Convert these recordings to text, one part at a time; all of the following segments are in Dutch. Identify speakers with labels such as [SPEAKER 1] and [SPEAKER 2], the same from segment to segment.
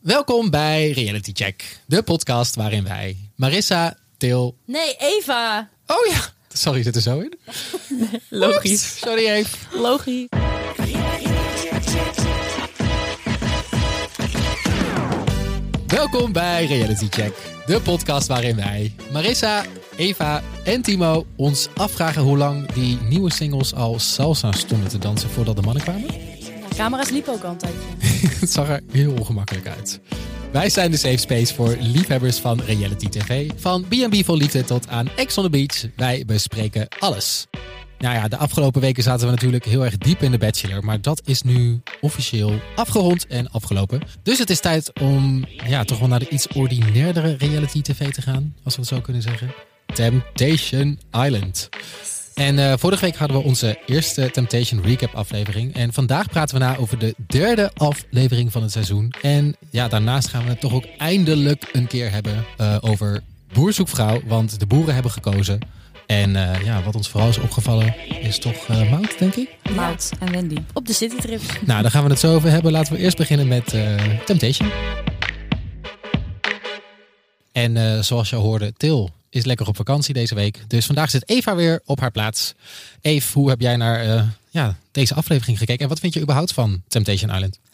[SPEAKER 1] Welkom bij Reality Check, de podcast waarin wij Marissa, Til.
[SPEAKER 2] Nee, Eva.
[SPEAKER 1] Oh ja, sorry, zit er zo in.
[SPEAKER 3] Logisch.
[SPEAKER 1] Sorry, Eve.
[SPEAKER 2] Logisch.
[SPEAKER 1] Welkom bij Reality Check, de podcast waarin wij Marissa, Eva en Timo ons afvragen hoe lang die nieuwe singles al salsa stonden te dansen voordat de mannen kwamen.
[SPEAKER 2] Camera's liepen ook al een tijdje.
[SPEAKER 1] Het zag er heel ongemakkelijk uit. Wij zijn de safe space voor liefhebbers van reality tv. Van B&B vol liefde tot aan Ex on the Beach. Wij bespreken alles. Nou ja, de afgelopen weken zaten we natuurlijk heel erg diep in de Bachelor. Maar dat is nu officieel afgerond en afgelopen. Dus het is tijd om ja, toch wel naar de iets ordinairdere reality tv te gaan. Als we het zo kunnen zeggen. Temptation Island. En eh, vorige week hadden we onze eerste Temptation Recap aflevering. En vandaag praten we na over de derde aflevering van het seizoen. En ja, daarnaast gaan we het toch ook eindelijk een keer hebben eh, over Boer zoekt vrouw. Want de boeren hebben gekozen. En eh, ja, wat ons vooral is opgevallen is toch eh Mout, denk ik.
[SPEAKER 3] Maud en Wendy.
[SPEAKER 2] Op de citytrips.
[SPEAKER 1] Nou, daar gaan we het zo over hebben. Laten we eerst beginnen met eh, Temptation. En eh, zoals je al hoorde, Til is lekker op vakantie deze week. Dus vandaag zit Eva weer op haar plaats. Eve, hoe heb jij naar eh, ja, deze aflevering gekeken? En wat vind je überhaupt van Temptation Island?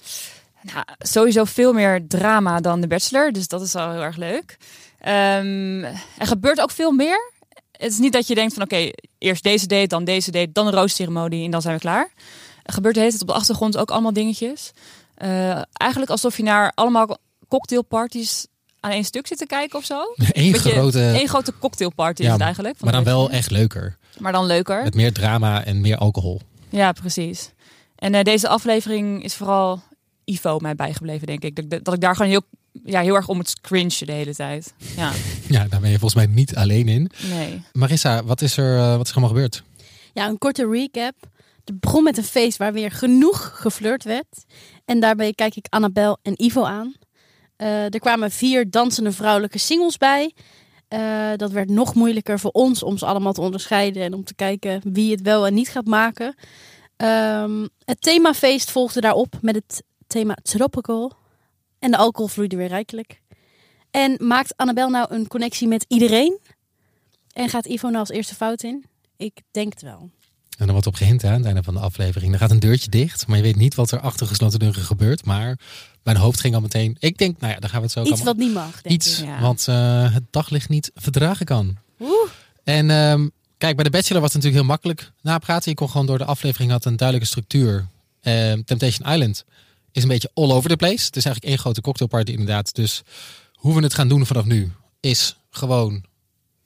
[SPEAKER 3] Nou, sowieso veel meer drama dan The Bachelor, dus dat is al heel erg leuk. Ehm, er gebeurt ook veel meer. Het is niet dat je denkt van oké, eerst deze date, dan deze date, dan een roosceremonie en dan zijn we klaar. Er gebeurt de hele tijd op de achtergrond ook allemaal dingetjes. Eh, eigenlijk alsof je naar allemaal cocktailparties aan één stuk zit te kijken of zo.
[SPEAKER 1] Eén
[SPEAKER 3] Beetje
[SPEAKER 1] grote,
[SPEAKER 3] Eén grote cocktailparty
[SPEAKER 1] Ja,
[SPEAKER 3] is het eigenlijk. van
[SPEAKER 1] maar dan
[SPEAKER 3] de
[SPEAKER 1] wel
[SPEAKER 3] Bachelor.
[SPEAKER 1] echt leuker.
[SPEAKER 3] Maar dan leuker.
[SPEAKER 1] Met meer drama en meer alcohol.
[SPEAKER 3] Ja, precies. En eh, deze aflevering is vooral Ivo mij bijgebleven, denk ik. Dat, ik- dat ik daar gewoon heel, ja, heel erg om het cringe de hele tijd. Ja,
[SPEAKER 1] Ja, daar ben je volgens mij niet alleen in.
[SPEAKER 3] nee.
[SPEAKER 1] Marissa, wat is er, eh, wat is er allemaal gebeurd?
[SPEAKER 2] Ja, een korte recap. Het begon met een feest waar weer genoeg geflirt werd. En daarbij kijk ik Annabel en Ivo aan. Eh, er kwamen vier dansende vrouwelijke singles bij. Eh, dat werd nog moeilijker voor ons om ze allemaal te onderscheiden en om te kijken wie het wel en niet gaat maken. Ehm, het themafeest volgde daarop met het thema Tropical. En de alcohol vloeide weer rijkelijk. En maakt Annabel nou een connectie met iedereen? En gaat Ivo nou als eerste fout in? Ik denk het wel.
[SPEAKER 1] En dan wordt op gehind hè, aan het einde van de aflevering. Er gaat een deurtje dicht, maar je weet niet wat er achter gesloten deuren gebeurt. Maar mijn hoofd ging al meteen. Ik denk, nou ja, daar gaan we het zo ook
[SPEAKER 2] Iets
[SPEAKER 1] allemaal-
[SPEAKER 2] wat niet mag, denk
[SPEAKER 1] Iets
[SPEAKER 2] ik.
[SPEAKER 3] Ja.
[SPEAKER 1] wat eh, het daglicht niet verdragen kan.
[SPEAKER 2] Oeh.
[SPEAKER 1] En ehm, kijk, bij de Bachelor was het natuurlijk heel makkelijk napraten. Je kon gewoon door de aflevering had een duidelijke structuur. Ehm, Temptation Island is een beetje all over the place. Het is eigenlijk één grote cocktailparty inderdaad. Dus hoe we het gaan doen vanaf nu is gewoon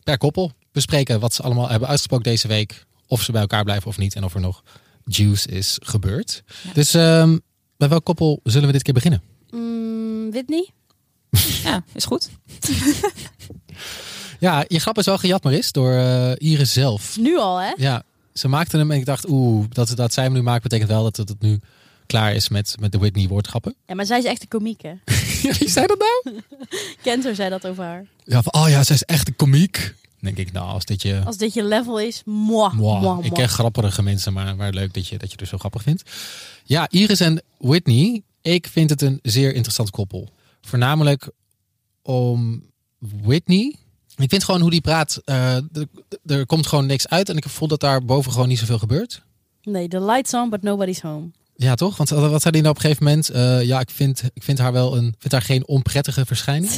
[SPEAKER 1] per koppel bespreken wat ze allemaal hebben uitgesproken deze week. Of ze bij elkaar blijven of niet. En of er nog juice is gebeurd.
[SPEAKER 3] Ja.
[SPEAKER 1] Dus ehm, bij welk koppel zullen we dit keer beginnen?
[SPEAKER 2] Mm, Whitney?
[SPEAKER 3] Ja, is goed.
[SPEAKER 1] Ja, je grap is wel gejat, Maris, door eh, Iris zelf.
[SPEAKER 2] Nu al, hè?
[SPEAKER 1] Ja, ze maakten hem en ik dacht, oeh, dat, dat zij hem nu maakt betekent wel dat het, het nu klaar is met, met de Whitney-woordgrappen.
[SPEAKER 2] Ja, maar zij is echt een komiek, hè?
[SPEAKER 1] Wie zei dat nou?
[SPEAKER 2] Kenter zei dat over haar.
[SPEAKER 1] Ja, van, oh ja, zij is echt een komiek. Denk ik, nou, als dit je...
[SPEAKER 2] Als dit je level is, moi, moi,
[SPEAKER 1] Mwah.
[SPEAKER 2] moi.
[SPEAKER 1] Ik ken grappige mensen, maar, maar leuk dat je, dat je het zo grappig vindt. Ja, Iris en Whitney, ik vind het een zeer interessant koppel. Voornamelijk om Whitney. Ik vind gewoon hoe die praat, eh, er- er komt gewoon niks uit. En ik voel dat daar boven gewoon niet zoveel gebeurt.
[SPEAKER 2] Nee, the lights on, but nobody's home.
[SPEAKER 1] Ja, toch? Want wat zei hij nou op een gegeven moment? Eh, ja, ik vind, ik vind haar wel een, vind haar geen onprettige verschijning.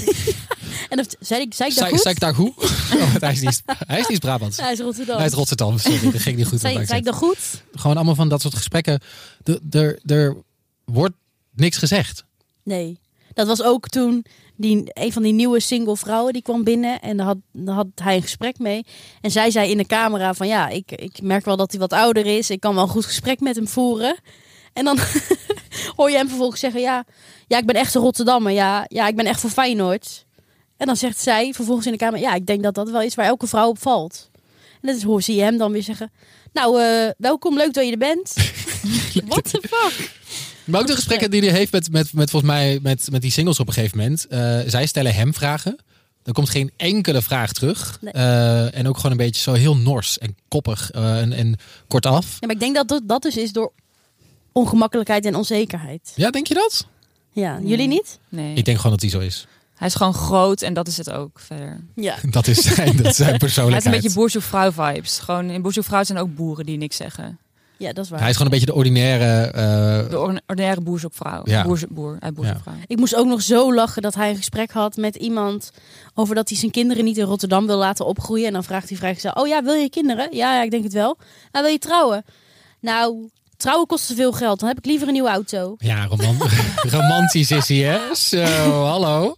[SPEAKER 2] En dat zei ik, zei ik dat
[SPEAKER 1] Zei,
[SPEAKER 2] goed?
[SPEAKER 1] zei ik daar goed? Oh, hij is niet, hij is niet Brabants.
[SPEAKER 2] Hij is Rotterdam.
[SPEAKER 1] Hij is Rotterdam, sorry. Dat ging niet goed.
[SPEAKER 2] Zei,
[SPEAKER 1] wat
[SPEAKER 2] zei
[SPEAKER 1] ik
[SPEAKER 2] ik dat goed?
[SPEAKER 1] zei. Gewoon allemaal van dat soort gesprekken. De- Er er wordt niks gezegd.
[SPEAKER 2] Nee. Dat was ook toen die, een van die nieuwe single vrouwen die kwam binnen. En daar had, daar had hij een gesprek mee. En zij zei in de camera van ja, ik, ik merk wel dat hij wat ouder is. Ik kan wel een goed gesprek met hem voeren. En dan hoor je hem vervolgens zeggen ja, ja ik ben echt een Rotterdammer. Ja, ja, ik ben echt voor Feyenoord. En dan zegt zij vervolgens in de camera ja, ik denk dat dat wel is waar elke vrouw op valt. En dat is hoe zie je hem dan weer zeggen. Nou, eh, welkom, leuk dat je er bent. What the fuck?
[SPEAKER 1] Maar ook de gesprekken die hij heeft met, met, met, volgens mij, met, met die singles op een gegeven moment. Eh, zij stellen hem vragen. Er komt geen enkele vraag terug.
[SPEAKER 2] Nee.
[SPEAKER 1] Eh, en ook gewoon een beetje zo heel nors en koppig eh, en, en kortaf.
[SPEAKER 2] Ja, maar ik denk dat dat, dat dus is door ongemakkelijkheid en onzekerheid.
[SPEAKER 1] Ja, denk je dat?
[SPEAKER 2] Ja, jullie niet?
[SPEAKER 3] Nee.
[SPEAKER 1] Ik denk gewoon dat hij zo is.
[SPEAKER 3] Hij is gewoon groot en dat is het ook
[SPEAKER 1] Oh,
[SPEAKER 3] verder.
[SPEAKER 2] Ja.
[SPEAKER 1] Dat is zijn, dat is zijn
[SPEAKER 3] Hij heeft een
[SPEAKER 1] persoonlijkheid.
[SPEAKER 3] beetje boerzoekvrouw vibes. Gewoon in boerzoekvrouw zijn ook boeren die niks zeggen.
[SPEAKER 2] Ja, dat is waar.
[SPEAKER 1] Hij is gewoon een beetje de ordinaire... eh,
[SPEAKER 3] De or- ordinaire boerzoekvrouw.
[SPEAKER 1] Ja.
[SPEAKER 3] Boerzo- boer uit boerzoekvrouw.
[SPEAKER 2] Ik moest ook nog zo lachen dat hij een gesprek had met iemand over dat hij zijn kinderen niet in Rotterdam wil laten opgroeien. En dan vraagt hij vrijgezel, oh ja, wil je kinderen? Ja, ja, ik denk het wel. En wil je trouwen? Nou, trouwen kost te veel geld, dan heb ik liever een nieuwe auto.
[SPEAKER 1] ja, roman- romantisch is hij, hè? Zo, hallo.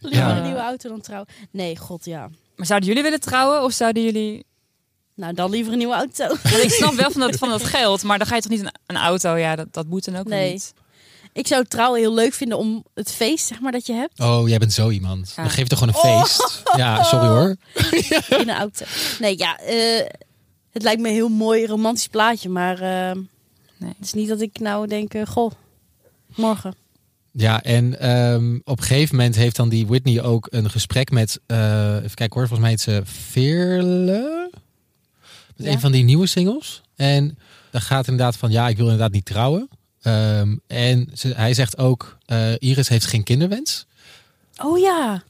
[SPEAKER 2] Liever
[SPEAKER 1] Ja.
[SPEAKER 2] een nieuwe auto dan trouwen. Nee, god ja.
[SPEAKER 3] Maar zouden jullie willen trouwen of zouden jullie...
[SPEAKER 2] Nou, dan liever een nieuwe auto.
[SPEAKER 3] Want ik snap wel van dat, van dat geld, maar dan ga je toch niet een, een auto? Ja, dat, dat moet dan ook weer
[SPEAKER 2] Nee.
[SPEAKER 3] niet.
[SPEAKER 2] Ik zou trouwen heel leuk vinden om het feest, zeg maar, dat je hebt
[SPEAKER 1] Oh, jij bent zo iemand.
[SPEAKER 3] Ja.
[SPEAKER 1] Dan geef je toch gewoon een feest. Ja, sorry hoor.
[SPEAKER 2] in een auto. Nee, ja, eh, het lijkt me een heel mooi romantisch plaatje, maar eh,
[SPEAKER 3] Nee.
[SPEAKER 2] het is niet dat ik nou denk, eh, goh, morgen.
[SPEAKER 1] Ja, en ehm, op een gegeven moment heeft dan die Whitney ook een gesprek met... eh, even kijken hoor, volgens mij heet ze Veerle. Met
[SPEAKER 2] Ja.
[SPEAKER 1] een van die nieuwe singles. En daar gaat inderdaad van, ja, ik wil inderdaad niet trouwen. Ehm, en ze- hij zegt ook, eh, Iris heeft geen kinderwens.
[SPEAKER 2] Oh ja.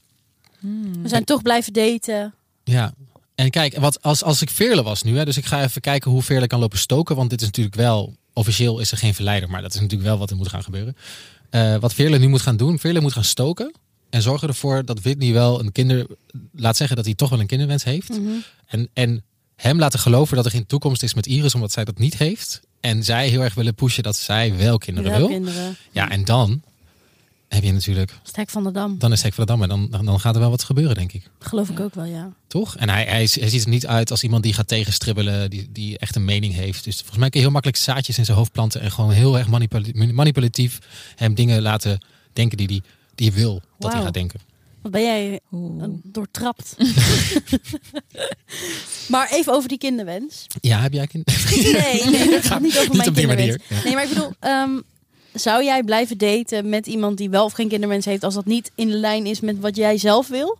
[SPEAKER 3] Hmm.
[SPEAKER 2] We zijn toch blijven daten.
[SPEAKER 1] Ja. En kijk, wat als, als ik Veerle was nu, hè, dus ik ga even kijken hoe Veerle kan lopen stoken. Want dit is natuurlijk wel, officieel is er geen verleider, maar dat is natuurlijk wel wat er moet gaan gebeuren. Eh, wat Veerle nu moet gaan doen, Veerle moet gaan stoken. En zorgen ervoor dat Whitney wel een kinder, laat zeggen dat hij toch wel een kinderwens heeft. En, en hem laten geloven dat er geen toekomst is met Iris, omdat zij dat niet heeft. En zij heel erg willen pushen dat zij wel kinderen
[SPEAKER 2] Wel
[SPEAKER 1] wil.
[SPEAKER 2] kinderen.
[SPEAKER 1] Ja, en dan heb je natuurlijk,
[SPEAKER 2] Stek van de Dam.
[SPEAKER 1] dan is Hek van de Dam. En dan, dan, dan gaat er wel wat gebeuren, denk ik.
[SPEAKER 2] Geloof ik ook wel, ja.
[SPEAKER 1] Toch? En hij, hij, is- hij ziet er niet uit als iemand die gaat tegenstribbelen, die, die echt een mening heeft. Dus volgens mij kun je heel makkelijk zaadjes in zijn hoofd planten en gewoon heel erg manipula- manipulatief hem dingen laten denken die hij die hij wil dat hij
[SPEAKER 2] Wauw.
[SPEAKER 1] gaat denken.
[SPEAKER 2] Wat ben jij eh,
[SPEAKER 3] Oeh.
[SPEAKER 2] doortrapt. maar even over die kinderwens.
[SPEAKER 1] Ja, heb jij kind?
[SPEAKER 2] Nee, nee dat gaat niet over
[SPEAKER 1] niet
[SPEAKER 2] mijn
[SPEAKER 1] op die
[SPEAKER 2] kinderwens.
[SPEAKER 1] manier. Ja.
[SPEAKER 2] Nee, maar ik bedoel, ehm, zou jij blijven daten met iemand die wel of geen kinderwens heeft, als dat niet in de lijn is met wat jij zelf wil?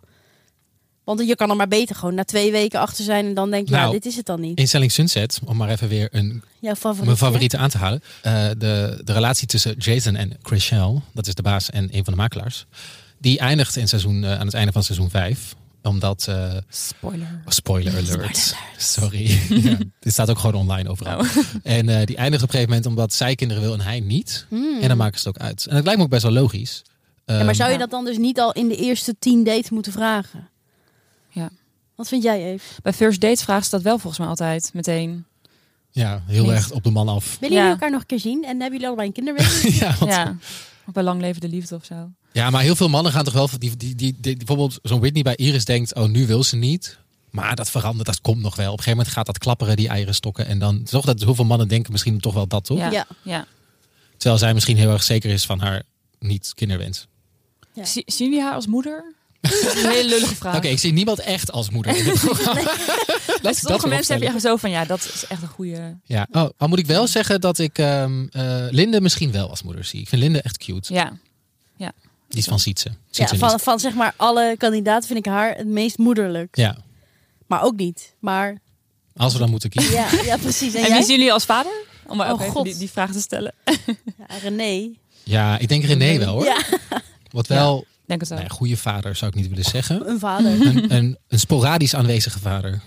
[SPEAKER 2] Want je kan er maar beter gewoon na twee weken achter zijn en dan denk je, ja,
[SPEAKER 1] Nou,
[SPEAKER 2] dit is het dan niet.
[SPEAKER 1] In Selling Sunset, om maar even weer een,
[SPEAKER 2] Jouw favoriet.
[SPEAKER 1] mijn favoriete aan te halen. eh, de, de relatie tussen Jason en Chriselle, dat is de baas en een van de makelaars. Die eindigt in seizoen, eh, aan het einde van seizoen 5. Omdat eh,
[SPEAKER 3] Spoiler.
[SPEAKER 1] Oh, Spoiler alert. Sorry. ja, dit staat ook gewoon online overal. En eh, die eindigt op een gegeven moment omdat zij kinderen wil en hij niet.
[SPEAKER 2] Hmm.
[SPEAKER 1] En dan maken ze het ook uit. En dat lijkt me ook best wel logisch. Ehm,
[SPEAKER 2] Ja, maar zou je
[SPEAKER 3] Ja.
[SPEAKER 2] dat dan dus niet al in de eerste tien dates moeten vragen?
[SPEAKER 3] Ja.
[SPEAKER 2] Wat vind jij, Eve?
[SPEAKER 3] Bij first dates vragen ze dat wel volgens mij altijd, meteen.
[SPEAKER 1] ja heel
[SPEAKER 3] Niet.
[SPEAKER 1] erg op de man af.
[SPEAKER 2] Willen
[SPEAKER 3] Ja.
[SPEAKER 2] jullie elkaar nog een keer zien? En hebben jullie allebei een kinderwens?
[SPEAKER 1] ja, want- ja.
[SPEAKER 3] Ja. Of bij lang leven de liefde of zo.
[SPEAKER 1] maar heel veel mannen gaan toch wel... Die, die, die, die- bijvoorbeeld zo'n Whitney bij Iris denkt, oh nu wil ze niet. Maar dat verandert, dat komt nog wel. Op een gegeven moment gaat dat klapperen, die eieren stokken. En dan toch dat hoeveel mannen denken misschien toch wel dat, toch?
[SPEAKER 3] Ja.
[SPEAKER 2] Ja.
[SPEAKER 3] ja.
[SPEAKER 1] Terwijl zij misschien heel erg zeker is van haar niet kinderwens.
[SPEAKER 2] Ja.
[SPEAKER 3] Zie- Zien jullie haar als moeder? Dat is een hele lullige vraag.
[SPEAKER 1] Oké, ik zie niemand echt als moeder in dit programma. Laat
[SPEAKER 3] Bij
[SPEAKER 1] ik dat
[SPEAKER 3] sommige mensen
[SPEAKER 1] vooropstellen.
[SPEAKER 3] heb je echt zo van, ja, dat is echt een goede...
[SPEAKER 1] Ja, oh, al moet ik wel zeggen dat ik ehm eh, Linde misschien wel als moeder zie. Ik vind Linde echt cute.
[SPEAKER 3] Ja,
[SPEAKER 1] Die is van Sietse.
[SPEAKER 2] Ja,
[SPEAKER 1] Sietse ja,
[SPEAKER 2] van, van zeg maar alle kandidaten vind ik haar het meest moederlijk.
[SPEAKER 1] ja,
[SPEAKER 2] Maar ook niet. Maar
[SPEAKER 1] als we dan moeten kiezen.
[SPEAKER 2] ja, ja precies. En,
[SPEAKER 3] En
[SPEAKER 2] jij?
[SPEAKER 3] wie zien jullie als vader? Om maar
[SPEAKER 2] Oh,
[SPEAKER 3] ook even
[SPEAKER 2] God.
[SPEAKER 3] die, die vraag te stellen.
[SPEAKER 2] Ja, René.
[SPEAKER 1] Ja, ik denk René wel hoor.
[SPEAKER 2] Ja,
[SPEAKER 1] Wat wel,
[SPEAKER 3] Denk het wel.
[SPEAKER 1] nou ja, goede vader zou ik niet willen zeggen.
[SPEAKER 2] een vader.
[SPEAKER 1] Een, een, een sporadisch aanwezige vader. Oh,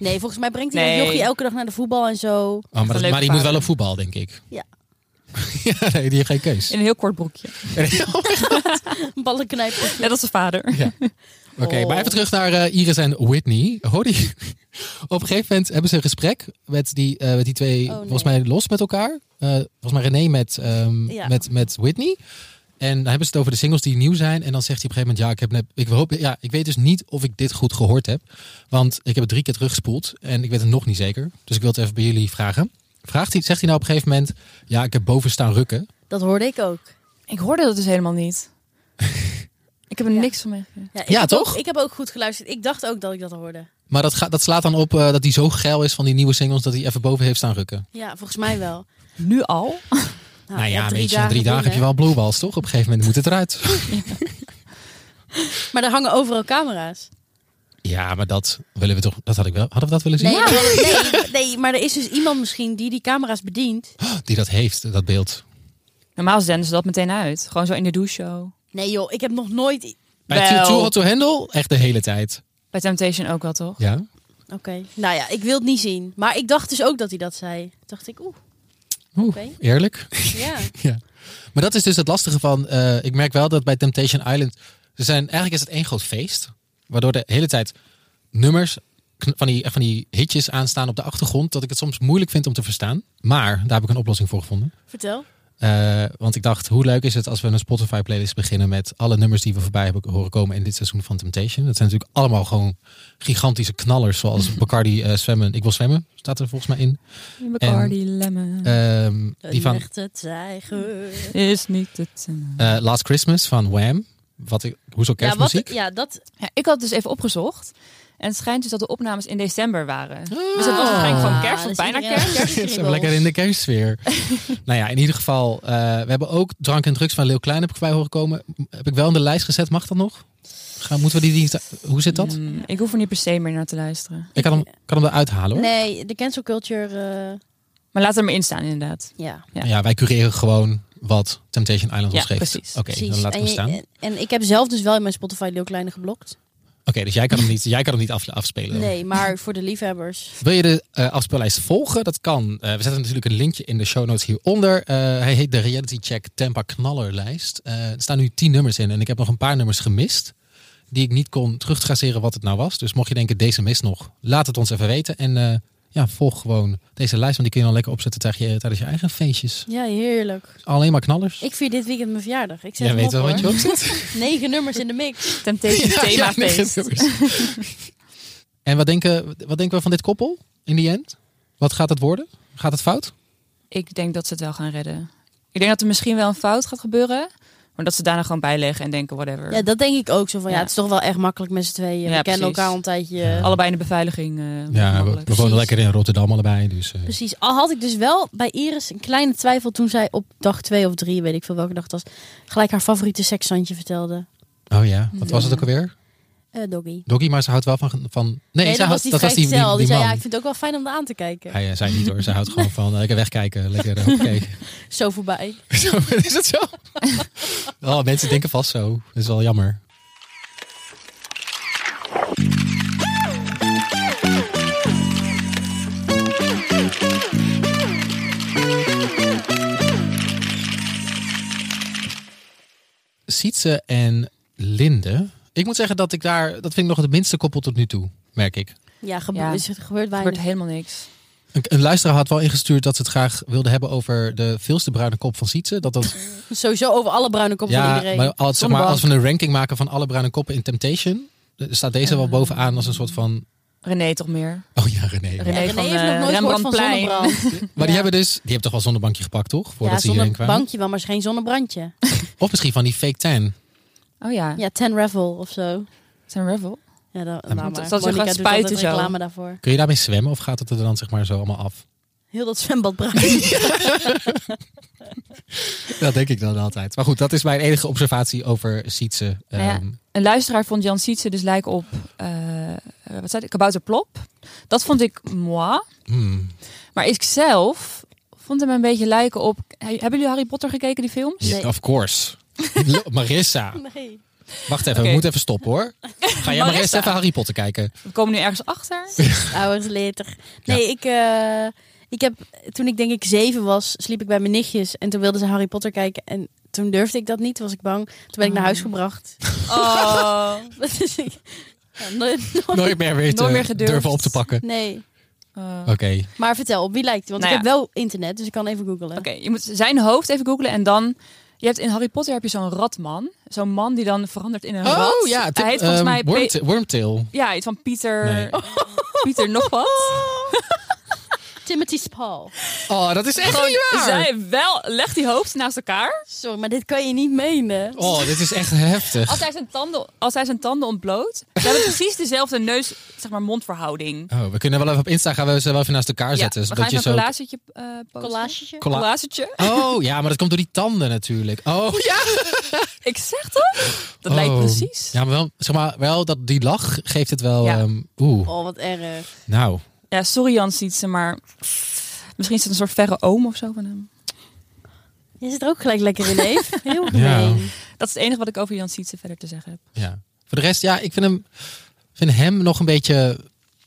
[SPEAKER 2] Nee, volgens mij brengt hij
[SPEAKER 3] Nee.
[SPEAKER 2] dat jochie elke dag naar de voetbal en zo.
[SPEAKER 1] Oh, maar
[SPEAKER 3] een
[SPEAKER 1] dat-
[SPEAKER 3] leuke
[SPEAKER 1] maar die moet
[SPEAKER 3] vader.
[SPEAKER 1] wel op voetbal, denk ik.
[SPEAKER 2] Ja.
[SPEAKER 1] ja, nee, die heeft geen keus.
[SPEAKER 3] In een heel kort broekje.
[SPEAKER 2] Ballen knijpen.
[SPEAKER 3] Net als de vader.
[SPEAKER 1] Ja. Oké, maar
[SPEAKER 2] Oh.
[SPEAKER 1] even terug naar eh, Iris en Whitney. Hoor je? Op een gegeven moment hebben ze een gesprek met die, eh, met die twee,
[SPEAKER 2] Oh, nee.
[SPEAKER 1] volgens mij los met elkaar. Eh, volgens mij René met, ehm,
[SPEAKER 2] Ja.
[SPEAKER 1] met, met Whitney. En dan hebben ze het over de singles die nieuw zijn. En dan zegt hij op een gegeven moment, ja, ik, heb net, ik, hoop, ja, ik weet dus niet of ik dit goed gehoord heb. Want ik heb het drie keer teruggespoeld en ik weet het nog niet zeker. Dus ik wil het even bij jullie vragen. Vraagt hij, zegt hij nou op een gegeven moment, ja, ik heb boven staan rukken.
[SPEAKER 2] Dat hoorde ik ook.
[SPEAKER 3] Ik hoorde dat dus helemaal niet. Ik heb er
[SPEAKER 2] Ja.
[SPEAKER 3] niks van meegekregen.
[SPEAKER 2] ik
[SPEAKER 1] Ja,
[SPEAKER 2] heb
[SPEAKER 1] toch?
[SPEAKER 2] ook- ik heb ook goed geluisterd. Ik dacht ook dat ik dat hoorde.
[SPEAKER 1] Maar dat, gaat, dat slaat dan op eh, dat hij zo geil is van die nieuwe singles dat hij even boven heeft staan rukken.
[SPEAKER 2] Ja, volgens mij wel.
[SPEAKER 3] Nu al?
[SPEAKER 1] Nou ja,
[SPEAKER 2] drie
[SPEAKER 1] weet je, na drie
[SPEAKER 2] doen,
[SPEAKER 1] dagen heb je
[SPEAKER 2] hè.
[SPEAKER 1] wel blueballs, toch? Op een gegeven moment moet het eruit.
[SPEAKER 2] Maar er hangen overal camera's.
[SPEAKER 1] Ja, maar dat willen we toch? Dat had ik wel. Hadden we dat willen zien?
[SPEAKER 2] Nee, nee, nee, maar er is dus iemand misschien die die camera's bedient.
[SPEAKER 1] Die dat heeft, dat beeld.
[SPEAKER 3] Normaal zenden ze dat meteen uit. Gewoon zo in de douche show.
[SPEAKER 2] Nee joh, ik heb nog nooit... i-
[SPEAKER 1] Bij
[SPEAKER 3] Wel.
[SPEAKER 1] Too Hot to Handle echt de hele tijd.
[SPEAKER 3] Bij Temptation ook wel, toch?
[SPEAKER 1] Ja.
[SPEAKER 2] Oké, nou ja, ik wil het niet zien. Maar ik dacht dus ook dat hij dat zei. Toen dacht ik, oeh,
[SPEAKER 1] Oeh,
[SPEAKER 2] Oké.
[SPEAKER 1] eerlijk.
[SPEAKER 2] ja.
[SPEAKER 1] Maar dat is dus het lastige van. eh, ik merk wel dat bij Temptation Island. Ze zijn, eigenlijk is het één groot feest. Waardoor de hele tijd nummers kn- van die, van die hitjes aanstaan op de achtergrond. Dat ik het soms moeilijk vind om te verstaan. Maar daar heb ik een oplossing voor gevonden.
[SPEAKER 2] Vertel.
[SPEAKER 1] Eh, want ik dacht, hoe leuk is het als we een Spotify playlist beginnen met alle nummers die we voorbij hebben horen komen in dit seizoen van Temptation. Dat zijn natuurlijk allemaal gewoon gigantische knallers, zoals Bacardi eh, zwemmen. Ik wil zwemmen, staat er volgens mij in. Bacardi
[SPEAKER 3] Bacardi Lemon
[SPEAKER 1] Ehm, die
[SPEAKER 2] Een
[SPEAKER 1] van
[SPEAKER 2] echte tijger.
[SPEAKER 3] is niet het...
[SPEAKER 1] eh, Last Christmas van Wham. Wat ik, hoezo
[SPEAKER 2] Ja, wat,
[SPEAKER 1] kerstmuziek?
[SPEAKER 2] ja, dat...
[SPEAKER 3] Ja, ik had dus even opgezocht. En het schijnt dus dat de opnames in december waren. Dus het was waarschijnlijk
[SPEAKER 2] Ah,
[SPEAKER 3] van kerst,
[SPEAKER 2] dus
[SPEAKER 3] of bijna
[SPEAKER 2] iedereen-
[SPEAKER 3] kerst.
[SPEAKER 1] Ze hebben lekker in de kerstsfeer. nou ja, in ieder geval, eh, we hebben ook Drank en Drugs van Leeuw Klein heb ik voorbij horen komen. Heb ik wel in de lijst gezet, mag dat nog? Gaan, moeten we die, die... Hoe zit dat?
[SPEAKER 3] Mm, ik hoef er niet per se meer naar te luisteren.
[SPEAKER 1] Ik kan hem, kan hem eruit halen hoor.
[SPEAKER 2] Nee, de cancel culture, eh,
[SPEAKER 3] Maar laat er maar in staan, inderdaad.
[SPEAKER 2] ja.
[SPEAKER 3] Ja.
[SPEAKER 1] Ja. wij cureren gewoon wat Temptation Island
[SPEAKER 3] Ja,
[SPEAKER 1] ons geeft.
[SPEAKER 3] precies.
[SPEAKER 1] Oké,
[SPEAKER 2] precies.
[SPEAKER 1] dan laten
[SPEAKER 2] en,
[SPEAKER 1] we
[SPEAKER 2] je-
[SPEAKER 1] staan. Oké,
[SPEAKER 2] en, en ik heb zelf dus wel in mijn Spotify Leeuw Kleine geblokt.
[SPEAKER 1] dus jij kan hem niet, jij kan hem niet af, afspelen.
[SPEAKER 2] Nee, maar voor de liefhebbers.
[SPEAKER 1] Wil je de eh, afspeellijst volgen? Dat kan. Eh, we zetten natuurlijk een linkje in de show notes hieronder. Eh, hij heet de Reality Check Tempa Knallerlijst. Eh, er staan nu tien nummers in en ik heb nog een paar nummers gemist. Die ik niet kon terugtraceren wat het nou was. Dus mocht je denken, deze mis nog, laat het ons even weten. En eh, ja, volg gewoon deze lijst, want die kun je dan lekker opzetten tijdens je, tijdens je eigen feestjes.
[SPEAKER 2] Ja, heerlijk.
[SPEAKER 1] Alleen maar knallers.
[SPEAKER 2] Ik vier dit weekend mijn verjaardag. Ik zet
[SPEAKER 1] Jij
[SPEAKER 2] hem
[SPEAKER 1] weet
[SPEAKER 2] op,
[SPEAKER 1] wel wat je
[SPEAKER 2] hoor.
[SPEAKER 1] opzet.
[SPEAKER 2] Negen nummers in de mix.
[SPEAKER 3] Temptation
[SPEAKER 1] Ja, ja,
[SPEAKER 3] themafeest.
[SPEAKER 1] negen nummers. en wat denken, wat denken we van dit koppel in die end? Wat gaat het worden? Gaat het fout?
[SPEAKER 3] ik denk dat ze het wel gaan redden. Ik denk dat er misschien wel een fout gaat gebeuren. Maar dat ze daarna gewoon bijleggen en denken, whatever.
[SPEAKER 2] Ja, dat denk ik ook zo van, ja,
[SPEAKER 3] Ja.
[SPEAKER 2] het is toch wel echt makkelijk met z'n tweeën. we kennen
[SPEAKER 3] Ja, precies.
[SPEAKER 2] elkaar al een tijdje.
[SPEAKER 1] Ja.
[SPEAKER 3] Allebei in de beveiliging. eh,
[SPEAKER 1] Ja, we,
[SPEAKER 3] mogelijk.
[SPEAKER 1] we wonen lekker in Rotterdam allebei. Dus, eh,
[SPEAKER 2] Precies. Al had ik dus wel bij Iris een kleine twijfel toen zij op dag twee of drie, weet ik veel welke dag het was, gelijk haar favoriete seksantje vertelde.
[SPEAKER 1] oh ja, wat was het ook alweer?
[SPEAKER 2] Eh, doggy.
[SPEAKER 1] Doggy, maar ze houdt wel van... van nee,
[SPEAKER 2] Nee,
[SPEAKER 1] ze
[SPEAKER 2] dat
[SPEAKER 1] houdt-
[SPEAKER 2] was die
[SPEAKER 1] dat was die, die,
[SPEAKER 2] vrijgezel.
[SPEAKER 1] die
[SPEAKER 2] Die zei,
[SPEAKER 1] man.
[SPEAKER 2] ja, ik vind het ook wel fijn om er aan te kijken.
[SPEAKER 1] Hij eh, zei niet hoor, ze houdt gewoon van eh, lekker wegkijken, lekker eh, hoppakee.
[SPEAKER 2] Zo voorbij.
[SPEAKER 1] Zo, is dat zo? oh, mensen denken vast zo. Dat is wel jammer. Sietse en Linde. Ik moet zeggen dat ik daar, dat vind ik nog het minste koppel tot nu toe, merk ik.
[SPEAKER 2] Ja, gebe-
[SPEAKER 3] Ja.
[SPEAKER 2] Dus het gebeurt
[SPEAKER 3] Er
[SPEAKER 2] weinig.
[SPEAKER 3] gebeurt helemaal niks.
[SPEAKER 1] Een, een luisteraar had wel ingestuurd dat ze het graag wilden hebben over de veelste bruine kop van Sietse. Dat dat
[SPEAKER 2] Sowieso over alle bruine kop van iedereen.
[SPEAKER 1] maar, als, zeg
[SPEAKER 3] Zonder
[SPEAKER 1] maar
[SPEAKER 3] bank.
[SPEAKER 1] als we een ranking maken van alle bruine koppen in Temptation, eh, staat deze wel bovenaan als een soort van.
[SPEAKER 3] René toch meer.
[SPEAKER 1] Oh ja, René.
[SPEAKER 3] René,
[SPEAKER 2] René
[SPEAKER 3] van,
[SPEAKER 2] heeft nog
[SPEAKER 3] eh,
[SPEAKER 2] nooit gehoord van
[SPEAKER 3] Rembrandtplein.
[SPEAKER 2] zonnebrand.
[SPEAKER 1] Maar
[SPEAKER 2] Ja.
[SPEAKER 1] die hebben dus, die hebben toch wel zonnebankje gepakt, toch? Voordat
[SPEAKER 2] ja,
[SPEAKER 1] ze hierheen kwamen.
[SPEAKER 2] zonnebankje wel, maar is geen zonnebrandje.
[SPEAKER 1] Of misschien van die fake tan.
[SPEAKER 3] Oh ja,
[SPEAKER 2] Ja, Ten Revel of zo.
[SPEAKER 3] zijn Revel.
[SPEAKER 2] Ja, dan,
[SPEAKER 1] maar
[SPEAKER 2] nou
[SPEAKER 3] dat-
[SPEAKER 2] maar.
[SPEAKER 3] dat
[SPEAKER 2] Monica
[SPEAKER 3] ze gaan
[SPEAKER 2] doet altijd
[SPEAKER 3] spuiten zo.
[SPEAKER 2] reclame daarvoor.
[SPEAKER 1] Kun je daarmee zwemmen of gaat het er dan zeg maar zo allemaal af?
[SPEAKER 2] Heel dat zwembad bruin.
[SPEAKER 1] Dat denk ik dan altijd. Maar goed, dat is mijn enige observatie over Sietse.
[SPEAKER 3] Nou ja.
[SPEAKER 1] Ehm,
[SPEAKER 3] Een luisteraar vond Jan Sietse dus lijk op, eh, eh, wat zei ik, Kabouter Plop. Dat vond ik moi.
[SPEAKER 1] hmm.
[SPEAKER 3] Maar ik zelf vond hem een beetje lijken op... He- Hebben jullie Harry Potter gekeken, die film?
[SPEAKER 1] Ja,
[SPEAKER 2] Nee.
[SPEAKER 1] Of course. Lo- Marissa.
[SPEAKER 2] Nee.
[SPEAKER 1] Wacht even, we
[SPEAKER 3] Oké.
[SPEAKER 1] moeten even stoppen hoor. Ga jij maar eerst
[SPEAKER 3] Marissa.
[SPEAKER 1] even Harry Potter kijken.
[SPEAKER 3] We komen nu ergens achter.
[SPEAKER 2] Ouders later. Nee, ik, eh, ik heb, toen ik denk ik zeven was, sliep ik bij mijn nichtjes. En toen wilden ze Harry Potter kijken. En toen durfde ik dat niet, toen was ik bang. Toen ben ik naar huis gebracht.
[SPEAKER 3] Oh.
[SPEAKER 2] Dat is ik. Ja, nooit- nooit-
[SPEAKER 1] Nooit meer weer te
[SPEAKER 3] Nooit meer gedurfd.
[SPEAKER 1] durven op te pakken.
[SPEAKER 2] Nee,
[SPEAKER 3] Eh,
[SPEAKER 1] Oké.
[SPEAKER 2] maar vertel, op wie lijkt hij? Want
[SPEAKER 3] Nou
[SPEAKER 2] ik heb wel internet, dus ik kan even googlen.
[SPEAKER 3] Oké, je moet zijn hoofd even googlen en dan... Je hebt in Harry Potter heb je zo'n ratman. Zo'n man die dan verandert in een rat.
[SPEAKER 1] Oh ja,
[SPEAKER 3] Hij heet volgens
[SPEAKER 1] ehm,
[SPEAKER 3] mij... Pe-
[SPEAKER 1] Wormta- Wormtail.
[SPEAKER 3] ja, iets van Pieter...
[SPEAKER 1] Nee.
[SPEAKER 3] Pieter nog wat.
[SPEAKER 2] Timothy Spall.
[SPEAKER 1] Oh, dat is echt niet waar.
[SPEAKER 3] Zij wel, leg die hoofd naast elkaar.
[SPEAKER 2] Sorry, maar dit kan je niet menen.
[SPEAKER 1] Oh, dit is echt heftig.
[SPEAKER 3] Als hij zijn tanden, als hij zijn tanden ontbloot, ze hebben precies dezelfde neus, zeg maar mondverhouding.
[SPEAKER 1] Oh, we kunnen wel even op Insta gaan we ze wel even naast elkaar
[SPEAKER 3] Ja,
[SPEAKER 1] zetten.
[SPEAKER 3] we
[SPEAKER 1] Zodat
[SPEAKER 3] gaan
[SPEAKER 1] dus je
[SPEAKER 3] even
[SPEAKER 1] zo...
[SPEAKER 3] een collagetje eh posten.
[SPEAKER 2] Collagetje.
[SPEAKER 1] Colla-
[SPEAKER 3] Collagetje.
[SPEAKER 1] Oh ja, maar dat komt door die tanden natuurlijk. Oh ja.
[SPEAKER 3] Ik zeg toch? Dat lijkt
[SPEAKER 1] Oh.
[SPEAKER 3] precies.
[SPEAKER 1] Ja, maar wel, zeg maar, wel dat die lach geeft het wel.
[SPEAKER 3] Ja.
[SPEAKER 1] ehm, Oeh,
[SPEAKER 2] Oh, wat erg.
[SPEAKER 1] nou.
[SPEAKER 3] Ja, sorry Jan Sietse, maar misschien is het een soort verre oom of zo van hem.
[SPEAKER 2] Je zit er ook gelijk lekker in, Eve. Heel
[SPEAKER 1] Ja.
[SPEAKER 2] gemeen.
[SPEAKER 3] Dat is het enige wat ik over Jan Sietse verder te zeggen heb.
[SPEAKER 1] Ja. Voor de rest, ja, ik vind hem, vind hem nog een beetje...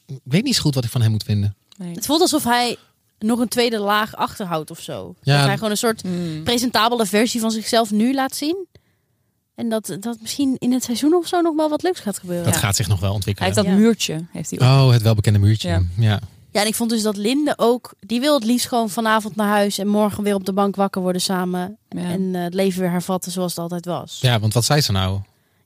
[SPEAKER 1] Ik weet niet zo goed wat ik van hem moet vinden.
[SPEAKER 3] Nee.
[SPEAKER 2] Het voelt alsof hij nog een tweede laag achterhoudt of zo.
[SPEAKER 1] Ja.
[SPEAKER 2] Dat hij gewoon een soort
[SPEAKER 3] Hmm.
[SPEAKER 2] presentabele versie van zichzelf nu laat zien. En dat, dat misschien in het seizoen of zo nog wel wat leuks gaat gebeuren.
[SPEAKER 1] Dat
[SPEAKER 2] Ja.
[SPEAKER 1] gaat zich nog wel
[SPEAKER 3] Hij
[SPEAKER 1] ontwikkelen.
[SPEAKER 3] heeft dat
[SPEAKER 2] Ja.
[SPEAKER 3] muurtje. Heeft hij op.
[SPEAKER 1] Oh, het welbekende muurtje. Ja.
[SPEAKER 3] Ja.
[SPEAKER 2] Ja, en ik vond dus dat Linde ook... Die wil het liefst gewoon vanavond naar huis... en morgen weer op de bank wakker worden samen.
[SPEAKER 1] Ah.
[SPEAKER 3] Ja.
[SPEAKER 2] En eh, het leven weer hervatten zoals het altijd was. Ja,
[SPEAKER 1] Ja, want wat zei ze nou?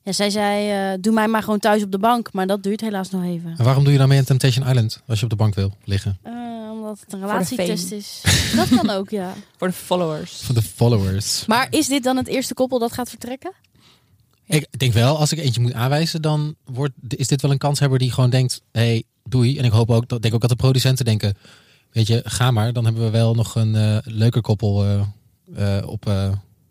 [SPEAKER 2] zij zei, eh, doe mij maar gewoon thuis op de bank. Maar dat duurt helaas nog even.
[SPEAKER 1] En waarom doe je dan mee aan Temptation Island als je op de bank wil liggen?
[SPEAKER 2] Eh, omdat het een
[SPEAKER 3] de
[SPEAKER 2] relatietest is. Dat kan ook, ja.
[SPEAKER 3] Voor de followers.
[SPEAKER 1] Van de followers.
[SPEAKER 2] Maar is dit dan het eerste koppel dat gaat vertrekken?
[SPEAKER 1] Ik denk wel, als ik eentje moet aanwijzen, dan wordt, is dit wel een kanshebber die gewoon denkt, hé, hey, doei. En ik hoop ook, dat denk ook dat de producenten denken, weet je, ga maar. Dan hebben we wel nog een eh, leuker koppel eh, eh, op, eh,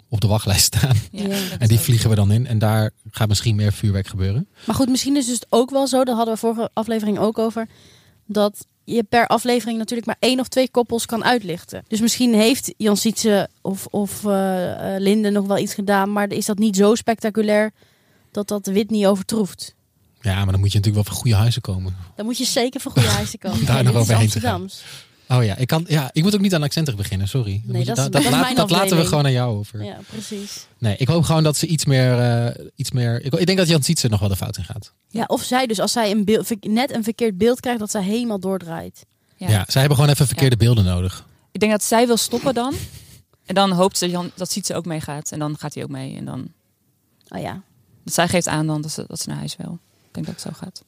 [SPEAKER 1] op de wachtlijst staan.
[SPEAKER 2] Ja.
[SPEAKER 3] ik denk
[SPEAKER 1] En
[SPEAKER 3] het
[SPEAKER 1] die
[SPEAKER 3] ook.
[SPEAKER 1] vliegen we dan in. En daar gaat misschien meer vuurwerk gebeuren.
[SPEAKER 2] Maar goed, misschien is het dus ook wel zo. Daar hadden we vorige aflevering ook over. Dat je per aflevering natuurlijk maar één of twee koppels kan uitlichten. Dus misschien heeft Jan Sietse of, of eh, eh, Linde nog wel iets gedaan. Maar is dat niet zo spectaculair dat dat wit niet overtroeft?
[SPEAKER 1] Ja, maar dan moet je natuurlijk wel van goede huizen komen.
[SPEAKER 2] Dan moet je zeker voor goede huizen komen.
[SPEAKER 1] Daar
[SPEAKER 2] Ja,
[SPEAKER 1] nog
[SPEAKER 2] dit is
[SPEAKER 1] overheen te gaan.
[SPEAKER 2] Amsterdams.
[SPEAKER 1] Oh ja, ik, kan, ja, ik moet ook niet aan accenten beginnen, sorry. Dan
[SPEAKER 2] Nee,
[SPEAKER 1] moet je-
[SPEAKER 2] dat is-
[SPEAKER 1] da-
[SPEAKER 2] dat is mijn
[SPEAKER 1] dat laten we
[SPEAKER 2] afdeling.
[SPEAKER 1] gewoon aan jou over.
[SPEAKER 2] Ja, precies.
[SPEAKER 1] Nee, ik hoop gewoon dat ze iets meer... eh, iets meer ik, ik denk dat Jan Sietse nog wel de fout in gaat.
[SPEAKER 2] Ja, of zij dus als zij een beeld, verk- net een verkeerd beeld krijgt, dat zij helemaal doordraait.
[SPEAKER 1] Ja.
[SPEAKER 3] Ja.
[SPEAKER 1] zij hebben gewoon even verkeerde beelden nodig.
[SPEAKER 3] Ik denk dat zij wil stoppen dan. En dan hoopt ze Jan, dat Sietse ook meegaat. En dan gaat hij ook mee. En dan,
[SPEAKER 2] Oh ja.
[SPEAKER 3] dat zij geeft aan dan dat ze, dat ze naar huis wil. Ik denk dat het zo gaat.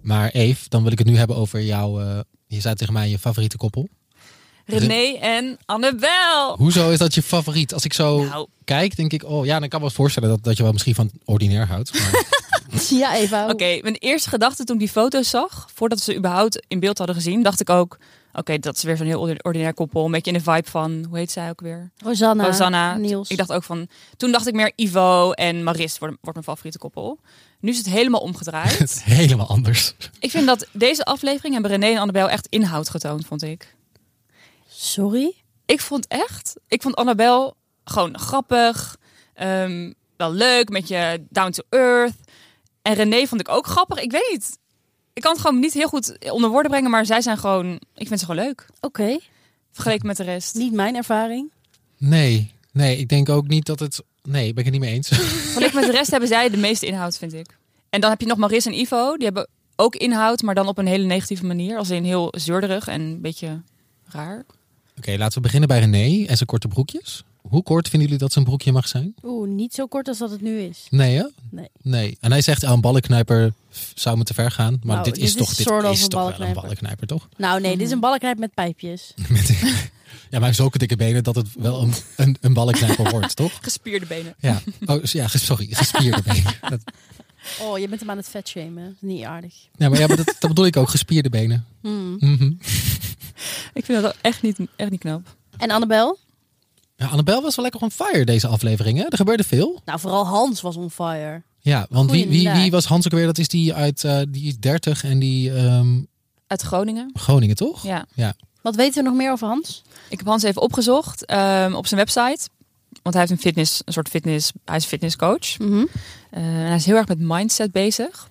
[SPEAKER 1] Maar Eve, dan wil ik het nu hebben over jouw... eh, je zei tegen mij je favoriete koppel.
[SPEAKER 3] René en Annabel.
[SPEAKER 1] Hoezo is dat je favoriet? Als ik zo
[SPEAKER 3] Nou,
[SPEAKER 1] kijk, denk ik... Oh ja, dan kan ik me wel voorstellen dat, dat je wel misschien van ordinair houdt. Maar
[SPEAKER 2] Ja, Eva.
[SPEAKER 3] Oké, mijn eerste gedachte toen ik die foto's zag, voordat we ze überhaupt in beeld hadden gezien, dacht ik ook: oké, dat is weer zo'n heel ordi- ordinair koppel. Een beetje in de vibe van, hoe heet zij ook weer?
[SPEAKER 2] Rosanna.
[SPEAKER 3] Rosanna.
[SPEAKER 2] Niels.
[SPEAKER 3] Ik dacht ook van, toen dacht ik meer Ivo en Maris worden- wordt mijn favoriete koppel. Nu is het helemaal
[SPEAKER 1] het
[SPEAKER 3] omgedraaid.
[SPEAKER 1] is helemaal anders.
[SPEAKER 3] ik vind dat deze aflevering hebben René en Annabel echt inhoud getoond, vond ik.
[SPEAKER 2] Sorry?
[SPEAKER 3] Ik vond echt, ik vond Annabel gewoon grappig, ehm, wel leuk, met je down to earth. En René vond ik ook grappig, ik weet niet. Ik kan het gewoon niet heel goed onder woorden brengen, maar zij zijn gewoon, ik vind ze gewoon leuk.
[SPEAKER 2] Oké.
[SPEAKER 3] Vergeleken met de rest.
[SPEAKER 2] Niet mijn ervaring.
[SPEAKER 1] Nee, nee, ik denk ook niet dat het... Nee, ben ik het niet mee eens.
[SPEAKER 3] Vergeleken met de rest hebben zij de meeste inhoud, vind ik. En dan heb je nog Maris en Ivo. Die hebben ook inhoud, maar dan op een hele negatieve manier. Als in heel zeurderig en een beetje raar.
[SPEAKER 1] Oké, laten we beginnen bij René en zijn korte broekjes. Hoe kort vinden jullie dat zijn broekje mag zijn?
[SPEAKER 2] Oeh, niet zo kort als dat het nu is.
[SPEAKER 1] Nee, hè?
[SPEAKER 2] Nee.
[SPEAKER 1] Nee. En hij zegt, ah, een ballenknijper zou me te ver gaan. Maar
[SPEAKER 2] Nou,
[SPEAKER 1] dit is
[SPEAKER 2] dit
[SPEAKER 1] toch,
[SPEAKER 2] is
[SPEAKER 1] dit
[SPEAKER 2] soort of
[SPEAKER 1] is
[SPEAKER 2] een
[SPEAKER 1] toch wel een
[SPEAKER 2] ballenknijper.
[SPEAKER 1] ballenknijper, toch?
[SPEAKER 2] Nou nee, dit is een
[SPEAKER 3] Mhm.
[SPEAKER 2] ballenknijp met pijpjes.
[SPEAKER 1] Met- ja, maar hij heeft zulke dikke benen dat het wel een, een, een ballenknijper wordt, toch?
[SPEAKER 3] Gespierde benen.
[SPEAKER 1] Ja. Oh, ja, ges- sorry, gespierde benen. Dat,
[SPEAKER 2] Oh, je bent hem aan het vet shamen. Niet aardig.
[SPEAKER 1] nee, maar ja, maar dat, dat bedoel ik ook, gespierde benen.
[SPEAKER 2] Hmm.
[SPEAKER 1] Mhm.
[SPEAKER 3] Ik vind dat echt niet, echt niet knap.
[SPEAKER 2] En Annabel?
[SPEAKER 1] ja, Annabel was wel lekker on fire deze aflevering, hè? Er gebeurde veel.
[SPEAKER 2] Nou, vooral Hans was on fire.
[SPEAKER 1] Ja, want wie, wie,
[SPEAKER 2] Goeiedag.
[SPEAKER 1] wie was Hans ook weer? Dat is die uit eh, die is 30 en die ehm,
[SPEAKER 3] Uit Groningen.
[SPEAKER 1] Groningen, toch?
[SPEAKER 3] Ja.
[SPEAKER 2] Wat weten we nog meer over Hans?
[SPEAKER 3] Ik heb Hans even opgezocht ehm, op zijn website. Want hij heeft een fitness, een soort fitness. Hij is fitnesscoach. Eh, en hij is heel erg met mindset bezig.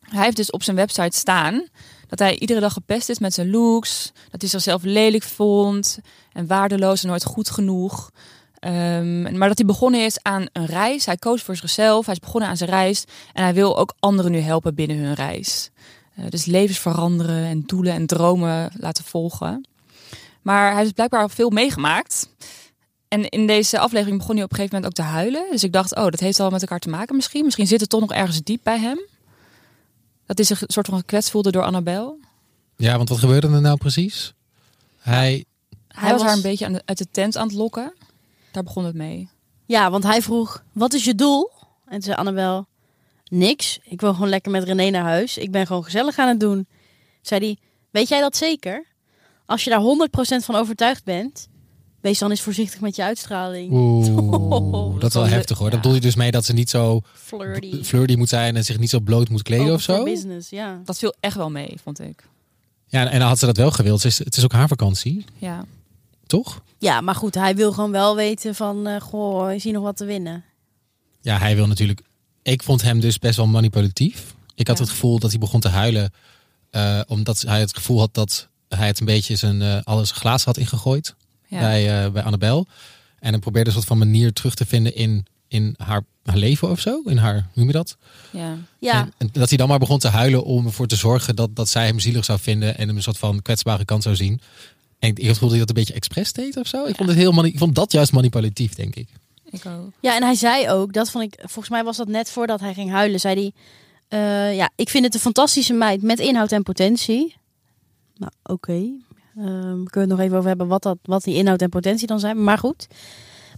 [SPEAKER 3] Hij heeft dus op zijn website staan dat hij iedere dag gepest is met zijn looks. Dat hij zichzelf lelijk vond en waardeloos en nooit goed genoeg. Ehm, maar dat hij begonnen is aan een reis. Hij koos voor zichzelf. Hij is begonnen aan zijn reis. En hij wil ook anderen nu helpen binnen hun reis. Eh, dus levens veranderen en doelen en dromen laten volgen. Maar hij heeft dus blijkbaar al veel meegemaakt. En in deze aflevering begon hij op een gegeven moment ook te huilen. Dus ik dacht, oh, dat heeft al met elkaar te maken misschien. Misschien zit het toch nog ergens diep bij hem. Dat hij zich een soort van gekwetst voelde door Annabel.
[SPEAKER 1] Ja, want wat gebeurde er nou precies? Hij,
[SPEAKER 3] Hij,
[SPEAKER 2] Hij
[SPEAKER 3] was,
[SPEAKER 2] was-
[SPEAKER 3] haar een beetje aan de- uit de tent aan het lokken. Daar begon het mee.
[SPEAKER 2] Ja, want hij vroeg, wat is je doel? En toen zei Annabel, niks. Ik wil gewoon lekker met René naar huis. Ik ben gewoon gezellig aan het doen. Zei hij, weet jij dat zeker? Als je daar 100% van overtuigd bent, Wees dan eens voorzichtig met je uitstraling.
[SPEAKER 1] Oeh, dat is wel
[SPEAKER 3] Ja.
[SPEAKER 1] heftig hoor. Dat bedoel je dus mee dat ze niet zo
[SPEAKER 2] Flirty.
[SPEAKER 1] flirty moet zijn en zich niet zo bloot moet kleden
[SPEAKER 3] Oh,
[SPEAKER 2] Open
[SPEAKER 1] of zo?
[SPEAKER 2] for business, ja.
[SPEAKER 3] Dat viel echt wel mee, vond ik.
[SPEAKER 1] Ja, en dan had ze dat wel gewild. Ze is- Het is ook haar vakantie,
[SPEAKER 3] Ja.
[SPEAKER 1] toch?
[SPEAKER 2] Ja, maar goed, hij wil gewoon wel weten van, eh, goh, is hier nog wat te winnen?
[SPEAKER 1] Ja, hij wil natuurlijk. Ik vond hem dus best wel manipulatief. Ik had
[SPEAKER 3] Ja.
[SPEAKER 1] het gevoel dat hij begon te huilen. eh, omdat hij het gevoel had dat hij het een beetje zijn eh, alles glaas had ingegooid
[SPEAKER 3] ja.
[SPEAKER 1] bij, eh bij Annabel. En hij probeerde een soort van manier terug te vinden in, in haar, haar leven of zo. In haar, hoe noem je dat?
[SPEAKER 3] ja.
[SPEAKER 2] Ja,
[SPEAKER 1] En, en dat hij dan maar begon te huilen om ervoor te zorgen dat, dat zij hem zielig zou vinden. En hem een soort van kwetsbare kant zou zien. En ik, ik had het gevoel dat hij dat een beetje expres deed of zo. Ik, vond het heel mani- ik vond dat juist manipulatief, denk ik.
[SPEAKER 3] Ik ook.
[SPEAKER 2] Ja, en hij zei ook, dat vond ik, volgens mij was dat net voordat hij ging huilen, zei hij, eh, ja, ik vind het een fantastische meid met inhoud en potentie. Nou, oké. Ehm, we kunnen het nog even over hebben wat, dat, wat die inhoud en potentie dan zijn, maar goed.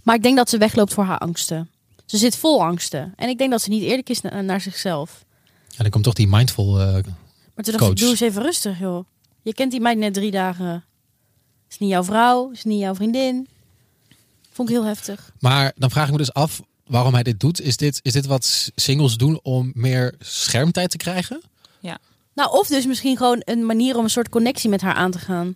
[SPEAKER 2] Maar ik denk dat ze wegloopt voor haar angsten. Ze zit vol angsten. En ik denk dat ze niet eerlijk is na- naar zichzelf.
[SPEAKER 1] En dan komt toch die mindful eh,
[SPEAKER 2] Maar toen dacht ik,
[SPEAKER 1] Coach.
[SPEAKER 2] doe eens even rustig, joh. Je kent die meid net drie dagen. Is niet jouw vrouw, is niet jouw vriendin. Vond ik heel heftig.
[SPEAKER 1] Maar dan vraag ik me dus af waarom hij dit doet. Is dit, is dit wat s- singles doen om meer schermtijd te krijgen?
[SPEAKER 2] Nou, of dus misschien gewoon een manier om een soort connectie met haar aan te gaan.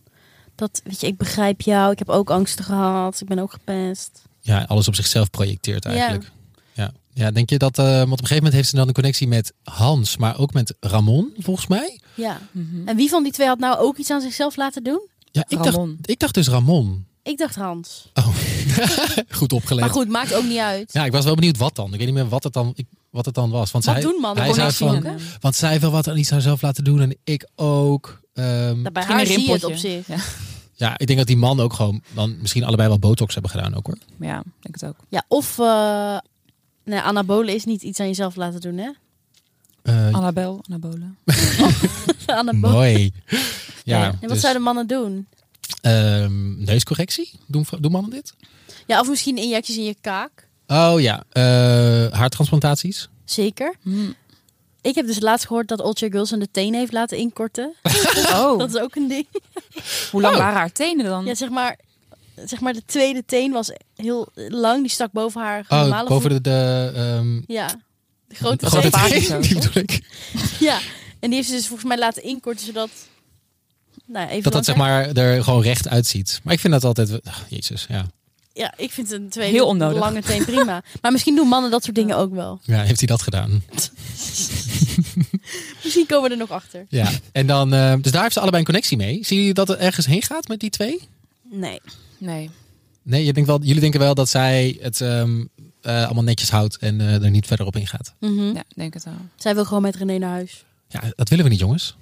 [SPEAKER 2] Dat, weet je, ik begrijp jou, ik heb ook angsten gehad, ik ben ook gepest.
[SPEAKER 1] Ja, alles op zichzelf projecteert
[SPEAKER 2] Ja.
[SPEAKER 1] eigenlijk. Ja. ja. denk je dat... eh, want op een gegeven moment heeft ze dan een connectie met Hans, maar ook met Ramon, volgens mij.
[SPEAKER 2] Ja.
[SPEAKER 3] Mhm.
[SPEAKER 2] En wie van die twee had nou ook iets aan zichzelf laten doen?
[SPEAKER 1] Ja, ik, dacht,
[SPEAKER 3] Ramon.
[SPEAKER 1] ik dacht dus Ramon.
[SPEAKER 2] Ik dacht Hans.
[SPEAKER 1] Oh, goed opgelet.
[SPEAKER 2] Maar goed, maakt ook niet uit.
[SPEAKER 1] Ja, ik was wel benieuwd wat dan. Ik weet niet meer wat het dan, ik, wat het dan was. Want
[SPEAKER 2] Wat
[SPEAKER 1] zij,
[SPEAKER 2] doen mannen?
[SPEAKER 1] Hij
[SPEAKER 2] Gewoon
[SPEAKER 1] zei
[SPEAKER 2] niks zien,
[SPEAKER 1] van,
[SPEAKER 2] hè?
[SPEAKER 1] want zij wil wat aan iets aan zelf laten doen en ik ook. Ehm,
[SPEAKER 2] Nou, Bij
[SPEAKER 3] Misschien
[SPEAKER 2] haar
[SPEAKER 3] een
[SPEAKER 2] zie je het op
[SPEAKER 3] rimpeltje.
[SPEAKER 2] zich.
[SPEAKER 3] Ja.
[SPEAKER 1] ja, ik denk dat die man ook gewoon dan misschien allebei wel botox hebben gedaan ook hoor.
[SPEAKER 3] Ja, ik denk het ook.
[SPEAKER 2] Ja, of... eh nee, anabolen is niet iets aan jezelf laten doen, hè?
[SPEAKER 1] Eh,
[SPEAKER 3] Annabel, Annabole.
[SPEAKER 2] anabolen.
[SPEAKER 1] Mooi. Ja,
[SPEAKER 2] En wat
[SPEAKER 1] dus,
[SPEAKER 2] zouden mannen doen?
[SPEAKER 1] ehm, neuscorrectie? Doen, vrou- doen mannen dit?
[SPEAKER 2] Ja, of misschien injecties in je kaak.
[SPEAKER 1] Oh ja, eh, haartransplantaties.
[SPEAKER 2] Zeker.
[SPEAKER 3] Hm.
[SPEAKER 2] Ik heb dus laatst gehoord dat Old Girls en de teen heeft laten inkorten.
[SPEAKER 3] Oh,
[SPEAKER 2] Dat is ook een ding.
[SPEAKER 3] hoe lang
[SPEAKER 1] Oh.
[SPEAKER 3] waren haar tenen dan?
[SPEAKER 2] Ja, zeg maar, zeg maar de tweede teen was heel lang. Die stak boven haar normale
[SPEAKER 1] Oh, boven
[SPEAKER 2] voet.
[SPEAKER 1] de... de ehm,
[SPEAKER 2] Ja, de grote
[SPEAKER 1] grote
[SPEAKER 3] teen.
[SPEAKER 2] teen.
[SPEAKER 1] teen,
[SPEAKER 3] Zo,
[SPEAKER 1] die
[SPEAKER 3] toch?
[SPEAKER 1] bedoel ik.
[SPEAKER 2] Ja, en die heeft ze dus volgens mij laten inkorten, zodat... Nou, even
[SPEAKER 1] Dat dat
[SPEAKER 2] lang
[SPEAKER 1] zeg maar er gewoon recht uitziet. Maar ik vind dat altijd... Ach, jezus, ja.
[SPEAKER 2] Ja, ik vind een tweede
[SPEAKER 3] Heel onnodig.
[SPEAKER 2] lange teen prima. Maar misschien doen mannen dat soort dingen ook wel.
[SPEAKER 1] Ja, heeft hij dat gedaan.
[SPEAKER 2] Misschien komen we er nog achter.
[SPEAKER 1] Ja, en dan... eh, dus daar heeft ze allebei een connectie mee. Zie je dat er ergens heen gaat met die twee?
[SPEAKER 2] Nee.
[SPEAKER 3] Nee.
[SPEAKER 1] Nee, je denkt wel, jullie denken wel dat zij het ehm, eh, allemaal netjes houdt en eh, er niet verder op ingaat.
[SPEAKER 2] Mhm.
[SPEAKER 3] Ja, ik denk het wel.
[SPEAKER 2] Zij wil gewoon met René naar huis.
[SPEAKER 1] Ja, dat willen we niet, jongens.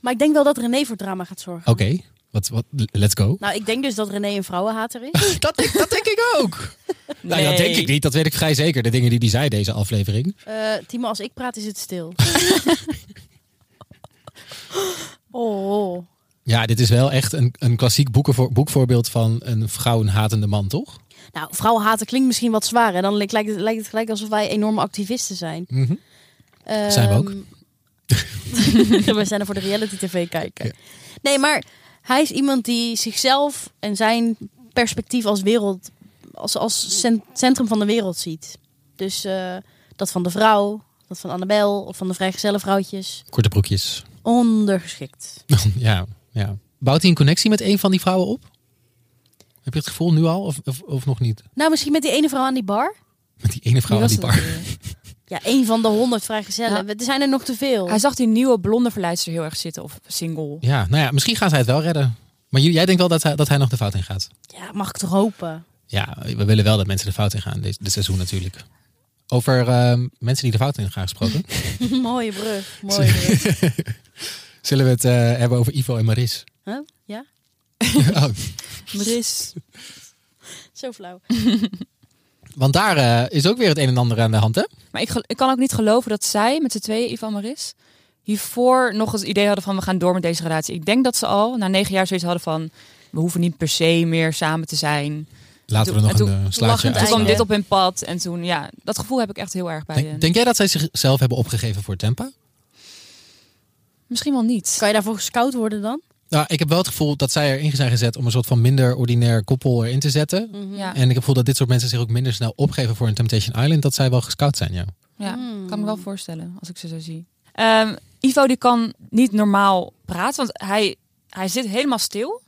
[SPEAKER 2] Maar ik denk wel dat René voor drama gaat zorgen.
[SPEAKER 1] Oké, wat, wat, let's go.
[SPEAKER 2] Nou, ik denk dus dat René een vrouwenhater is.
[SPEAKER 1] Dat, denk- dat denk ik ook. Nou, dat denk ik niet. Dat weet ik vrij zeker. De dingen die hij zei deze aflevering.
[SPEAKER 2] Eh, Timo, als ik praat is het stil. oh.
[SPEAKER 1] Ja, dit is wel echt een, een klassiek boekenvoor- boekvoorbeeld van een vrouwenhatende man, toch?
[SPEAKER 2] Nou, vrouwenhaten klinkt misschien wat zwaar. En dan li- lijkt het, lijkt het gelijk alsof wij enorme activisten zijn.
[SPEAKER 1] Mhm. Zijn we ook.
[SPEAKER 2] Ehm, we zijn er voor de reality tv kijken.
[SPEAKER 1] Ja.
[SPEAKER 2] Nee, maar hij is iemand die zichzelf en zijn perspectief als wereld, als, als cen- centrum van de wereld ziet. Dus eh, dat van de vrouw, dat van Annabel of van de vrijgezelle vrouwtjes.
[SPEAKER 1] Korte broekjes.
[SPEAKER 2] Ondergeschikt.
[SPEAKER 1] ja, ja. Bouwt hij een connectie met een van die vrouwen op? Heb je het gevoel nu al of, of, of nog niet?
[SPEAKER 2] Nou, misschien met die ene vrouw aan die bar.
[SPEAKER 1] Met die ene vrouw aan die
[SPEAKER 3] Wie was dat
[SPEAKER 1] bar.
[SPEAKER 3] weer?
[SPEAKER 2] Ja, één van de honderd vrijgezellen.
[SPEAKER 3] Ja.
[SPEAKER 2] Er zijn er nog te veel.
[SPEAKER 3] Hij zag die nieuwe blonde verleidster heel erg zitten, of single.
[SPEAKER 1] Ja, nou ja, misschien gaan zij het wel redden. Maar jullie- jij denkt wel dat hij, dat hij nog de fout in gaat?
[SPEAKER 2] Ja, mag ik toch hopen.
[SPEAKER 1] Ja, we willen wel dat mensen de fout in gaan. Dit, dit seizoen natuurlijk. Over ehm, mensen die de fout in gaan gesproken.
[SPEAKER 2] mooie brug, mooie brug.
[SPEAKER 1] Zullen we het eh, hebben over Ivo en Maris?
[SPEAKER 2] Huh? Ja?
[SPEAKER 1] Oh,
[SPEAKER 3] Maris.
[SPEAKER 2] Zo flauw.
[SPEAKER 1] want daar eh, is ook weer het een en ander aan de hand, hè?
[SPEAKER 3] Maar ik, gel- ik kan ook niet geloven dat zij met z'n tweeën, Ivan Maris, hiervoor nog eens het idee hadden van we gaan door met deze relatie. Ik denk dat ze al na negen jaar zoiets hadden van we hoeven niet per se meer samen te zijn.
[SPEAKER 1] Laten we er
[SPEAKER 3] Toen-
[SPEAKER 1] nog
[SPEAKER 3] en
[SPEAKER 1] een
[SPEAKER 3] toen-
[SPEAKER 1] eh, slaatje
[SPEAKER 2] lachend
[SPEAKER 1] uitslaan.
[SPEAKER 3] Toen kwam
[SPEAKER 2] Eigenlijk.
[SPEAKER 3] dit op hun pad en toen, ja, dat gevoel heb ik echt heel erg bij hen.
[SPEAKER 1] Denk, denk jij dat zij zichzelf hebben opgegeven voor Tempa?
[SPEAKER 3] Misschien wel niet.
[SPEAKER 2] Kan je daarvoor gescout worden dan?
[SPEAKER 1] Nou, ik heb wel het gevoel dat zij erin zijn gezet om een soort van minder ordinair koppel erin te zetten.
[SPEAKER 2] Mhm.
[SPEAKER 3] Ja.
[SPEAKER 1] En ik heb het gevoel dat dit soort mensen zich ook minder snel opgeven voor een Temptation Island. Dat zij wel gescout zijn, ja.
[SPEAKER 3] Ja,
[SPEAKER 2] Hmm.
[SPEAKER 3] kan me wel voorstellen als ik ze zo zie. Ehm, Ivo die kan niet normaal praten, want hij, hij zit helemaal stil.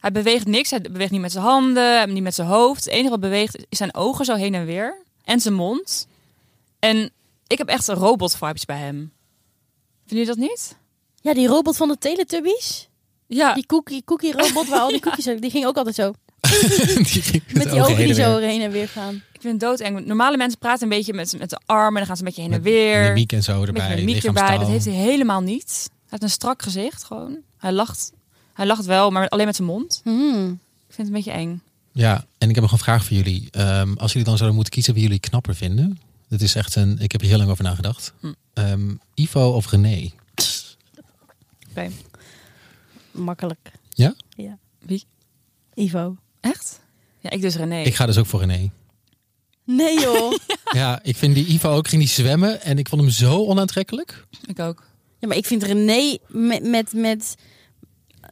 [SPEAKER 3] Hij beweegt niks, hij beweegt niet met zijn handen, niet met zijn hoofd. Het enige wat beweegt is zijn ogen zo heen en weer en zijn mond. En ik heb echt robot vibes bij hem. Vinden jullie dat niet?
[SPEAKER 2] Ja, die robot van de Teletubbies.
[SPEAKER 3] Ja,
[SPEAKER 2] Die cookie, cookie robot waar al die cookies ook- Die ging ook altijd zo.
[SPEAKER 1] die ging
[SPEAKER 2] Met die ogen
[SPEAKER 1] heen
[SPEAKER 2] die
[SPEAKER 1] en
[SPEAKER 2] zo
[SPEAKER 1] weer.
[SPEAKER 2] heen en weer gaan.
[SPEAKER 3] ik vind het doodeng. Normale mensen praten een beetje met, met de armen, dan gaan ze een beetje heen en
[SPEAKER 1] Met
[SPEAKER 3] weer.
[SPEAKER 1] Mimiek en zo
[SPEAKER 3] Met
[SPEAKER 1] erbij.
[SPEAKER 3] een miek erbij.
[SPEAKER 1] lichaamstaal.
[SPEAKER 3] Dat heeft hij helemaal niet. Hij heeft een strak gezicht gewoon. Hij lacht. Hij lacht wel, maar alleen met zijn mond.
[SPEAKER 2] Hmm.
[SPEAKER 3] Ik vind het een beetje eng.
[SPEAKER 1] Ja, en ik heb nog een vraag voor jullie. Ehm, als jullie dan zouden moeten kiezen wie jullie knapper vinden. Dat is echt een... Ik heb hier heel lang over nagedacht.
[SPEAKER 3] Hm.
[SPEAKER 1] Ehm, Ivo of René?
[SPEAKER 2] Makkelijk.
[SPEAKER 1] Ja?
[SPEAKER 2] Ja.
[SPEAKER 3] Wie?
[SPEAKER 2] Ivo.
[SPEAKER 3] Echt? Ja, ik dus René.
[SPEAKER 1] Ik ga dus ook voor René.
[SPEAKER 2] Nee joh.
[SPEAKER 1] Ja, ik vind die Ivo ook. Ging die zwemmen en ik vond hem zo onaantrekkelijk.
[SPEAKER 3] Ik ook.
[SPEAKER 2] ja, maar ik vind René met... met, met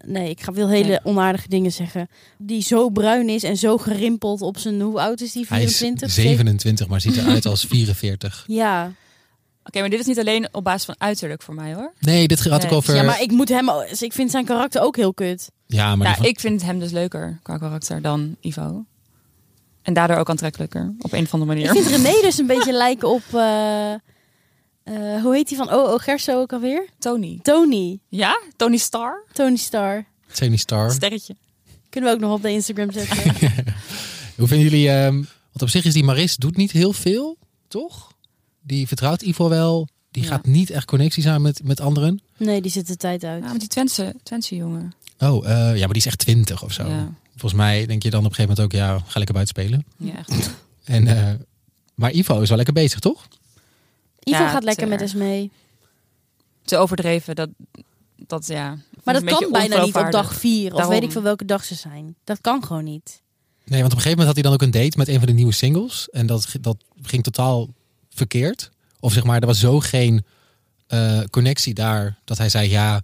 [SPEAKER 2] Nee, ik ga wel hele
[SPEAKER 3] Nee.
[SPEAKER 2] onaardige dingen zeggen. Die zo bruin is en zo gerimpeld op zijn... Hoe oud is die?
[SPEAKER 1] Hij is
[SPEAKER 2] 24?
[SPEAKER 1] 27, maar ziet eruit als 44.
[SPEAKER 2] Ja.
[SPEAKER 3] Oké, maar dit is niet alleen op basis van uiterlijk voor mij hoor.
[SPEAKER 1] Nee, dit gaat ook
[SPEAKER 3] Nee.
[SPEAKER 1] over...
[SPEAKER 2] ja, maar ik moet hem... Ik vind zijn karakter ook heel kut.
[SPEAKER 1] Ja, maar die
[SPEAKER 3] ja,
[SPEAKER 1] van-
[SPEAKER 3] ik vind hem dus leuker qua karakter dan Ivo. En daardoor ook aantrekkelijker. Op een of andere
[SPEAKER 2] Ik
[SPEAKER 3] manier.
[SPEAKER 2] vind René dus een beetje lijken op... eh, eh, hoe heet die van O.O. Gerso ook alweer?
[SPEAKER 3] Tony.
[SPEAKER 2] Tony.
[SPEAKER 3] Ja? Tony Star?
[SPEAKER 2] Tony Star.
[SPEAKER 1] Tony Star.
[SPEAKER 3] Sterretje.
[SPEAKER 2] Kunnen we ook nog op de Instagram zetten.
[SPEAKER 1] Hoe vinden jullie... ehm, want op zich is die Maris doet niet heel veel, toch? Die vertrouwt Ivo wel. Die
[SPEAKER 3] Ja.
[SPEAKER 1] gaat niet echt connecties aan met, met anderen.
[SPEAKER 2] Nee, die zit de tijd uit.
[SPEAKER 3] Ja, maar die Twentse, Twentse jongen.
[SPEAKER 1] Oh, eh, ja, maar die is echt 20 of zo.
[SPEAKER 3] Ja.
[SPEAKER 1] Volgens mij denk je dan op een gegeven moment ook... Ja, ga lekker buiten spelen.
[SPEAKER 3] ja, echt.
[SPEAKER 1] En, eh, maar Ivo is wel lekker bezig, toch?
[SPEAKER 2] Ivo
[SPEAKER 3] Ja, eh,
[SPEAKER 2] gaat lekker
[SPEAKER 3] te
[SPEAKER 2] met
[SPEAKER 3] erg.
[SPEAKER 2] ons mee.
[SPEAKER 3] Te overdreven. Dat, dat ja.
[SPEAKER 2] Maar
[SPEAKER 3] Een
[SPEAKER 2] dat
[SPEAKER 3] beetje
[SPEAKER 2] kan bijna niet op
[SPEAKER 3] ongeloofwaardig.
[SPEAKER 2] dag vier. Of
[SPEAKER 3] Daarom.
[SPEAKER 2] weet ik veel welke dag ze zijn. Dat kan gewoon niet.
[SPEAKER 1] Nee, want op een gegeven moment had hij dan ook een date met een van de nieuwe singles. En dat, dat ging totaal verkeerd. Of zeg maar, er was zo geen eh, connectie daar. Dat hij zei, ja,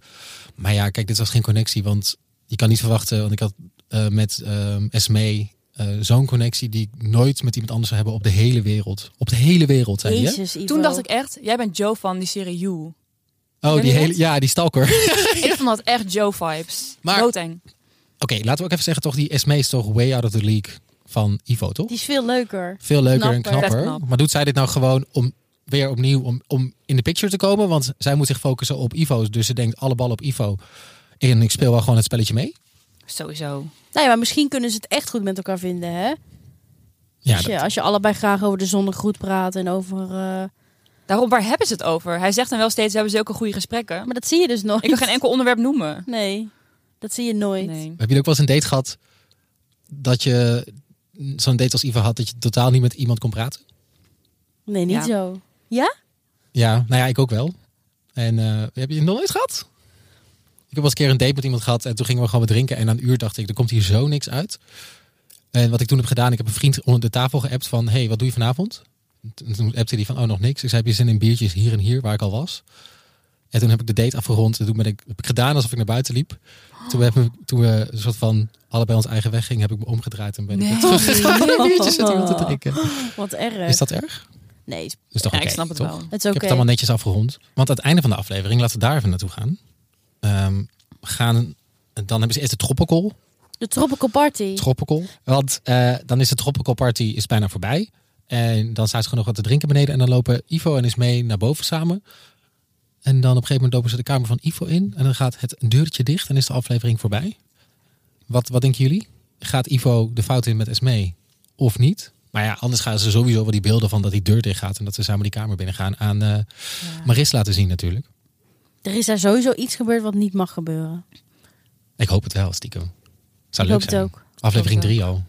[SPEAKER 1] maar ja, kijk, dit was geen connectie. Want je kan niet verwachten, want ik had eh, met ehm Esme eh, zo'n connectie... die ik nooit met iemand anders zou hebben op de hele wereld. Op de hele wereld, zei hij. hè?
[SPEAKER 2] Jezus, Ivo.
[SPEAKER 3] Toen dacht ik echt, jij bent Joe van die serie You.
[SPEAKER 1] Oh,
[SPEAKER 3] Ken
[SPEAKER 1] die
[SPEAKER 3] je
[SPEAKER 1] hele,
[SPEAKER 3] dat?
[SPEAKER 1] ja, die stalker. Oké,
[SPEAKER 3] Ik vond dat echt Joe vibes.
[SPEAKER 1] Maar-
[SPEAKER 3] Doodeng.
[SPEAKER 1] laten we ook even zeggen, toch, die Esme is toch way out of the league van Ivo, toch?
[SPEAKER 2] Die is veel leuker.
[SPEAKER 1] Veel leuker en
[SPEAKER 2] Knapper.
[SPEAKER 1] knapper.
[SPEAKER 3] Vet knap.
[SPEAKER 1] Maar doet zij dit nou gewoon om weer opnieuw om, om in de picture te komen? Want zij moet zich focussen op Ivo. Dus ze denkt alle ballen op Ivo. En ik speel wel gewoon het spelletje mee.
[SPEAKER 3] Sowieso.
[SPEAKER 2] Nou ja, maar misschien kunnen ze het echt goed met elkaar vinden, hè?
[SPEAKER 1] Ja,
[SPEAKER 2] als, je,
[SPEAKER 1] dat-
[SPEAKER 2] als je allebei graag over de zonde goed praat en over... eh,
[SPEAKER 3] Daarom, waar hebben ze het over? Hij zegt dan wel steeds, hebben ze ook een goede gesprekken.
[SPEAKER 2] Maar dat zie je dus nooit.
[SPEAKER 3] ik kan geen enkel onderwerp noemen.
[SPEAKER 2] Nee, dat zie je nooit.
[SPEAKER 3] Nee.
[SPEAKER 1] Heb je ook wel eens een date gehad dat je zo'n date als Ivo had dat je totaal niet met iemand kon praten?
[SPEAKER 2] Nee, niet
[SPEAKER 3] Ja.
[SPEAKER 2] zo.
[SPEAKER 1] Ja, nou ja, ik ook wel. En eh, heb je het nog nooit gehad? Ik heb wel eens een keer een date met iemand gehad en toen gingen we gewoon wat drinken. En na een uur dacht ik, er komt hier zo niks uit. En wat ik toen heb gedaan, ik heb een vriend onder de tafel geappt van... hey, wat doe je vanavond? En toen appte hij van, oh, nog niks. Ik zei, heb je zin in biertjes hier en hier, waar ik al was? En toen heb ik de date afgerond. En toen ben ik, heb ik gedaan alsof ik naar buiten liep. Toen, heb ik, toen we een soort van allebei ons eigen weg gingen, heb ik me omgedraaid. En ben ik
[SPEAKER 3] Nee.
[SPEAKER 1] weer teruggegaan naar de biertjes zitten te drinken.
[SPEAKER 2] Wat erg.
[SPEAKER 1] Is dat erg?
[SPEAKER 2] Nee, het
[SPEAKER 1] Is toch
[SPEAKER 3] Ja, ik
[SPEAKER 1] oké,
[SPEAKER 3] snap het
[SPEAKER 1] toch?
[SPEAKER 3] wel.
[SPEAKER 2] is oké.
[SPEAKER 1] Ik heb het allemaal netjes afgerond. Want aan het einde van de aflevering, laten we daar even naartoe gaan. Ehm, gaan dan hebben ze eerst de tropical.
[SPEAKER 2] De Tropical Party.
[SPEAKER 1] tropical want eh, dan is de tropical party is bijna voorbij. En dan staan ze gewoon nog wat te drinken beneden. En dan lopen Ivo en Ismee naar boven samen. En dan op een gegeven moment lopen ze de kamer van Ivo in. En dan gaat het deurtje dicht en is de aflevering voorbij. Wat, wat denken jullie? Gaat Ivo de fout in met Esmee of niet? Maar ja, anders gaan ze sowieso wel die beelden van dat die deur dicht gaat. En dat ze samen die kamer binnen gaan aan eh, Maris laten zien natuurlijk.
[SPEAKER 2] Er is daar sowieso iets gebeurd wat niet mag gebeuren.
[SPEAKER 1] Ik hoop het wel, stiekem. Zou
[SPEAKER 2] Ik
[SPEAKER 1] leuk
[SPEAKER 2] hoop het
[SPEAKER 1] zijn.
[SPEAKER 2] ook.
[SPEAKER 1] Aflevering
[SPEAKER 3] Ik hoop
[SPEAKER 1] 3 al.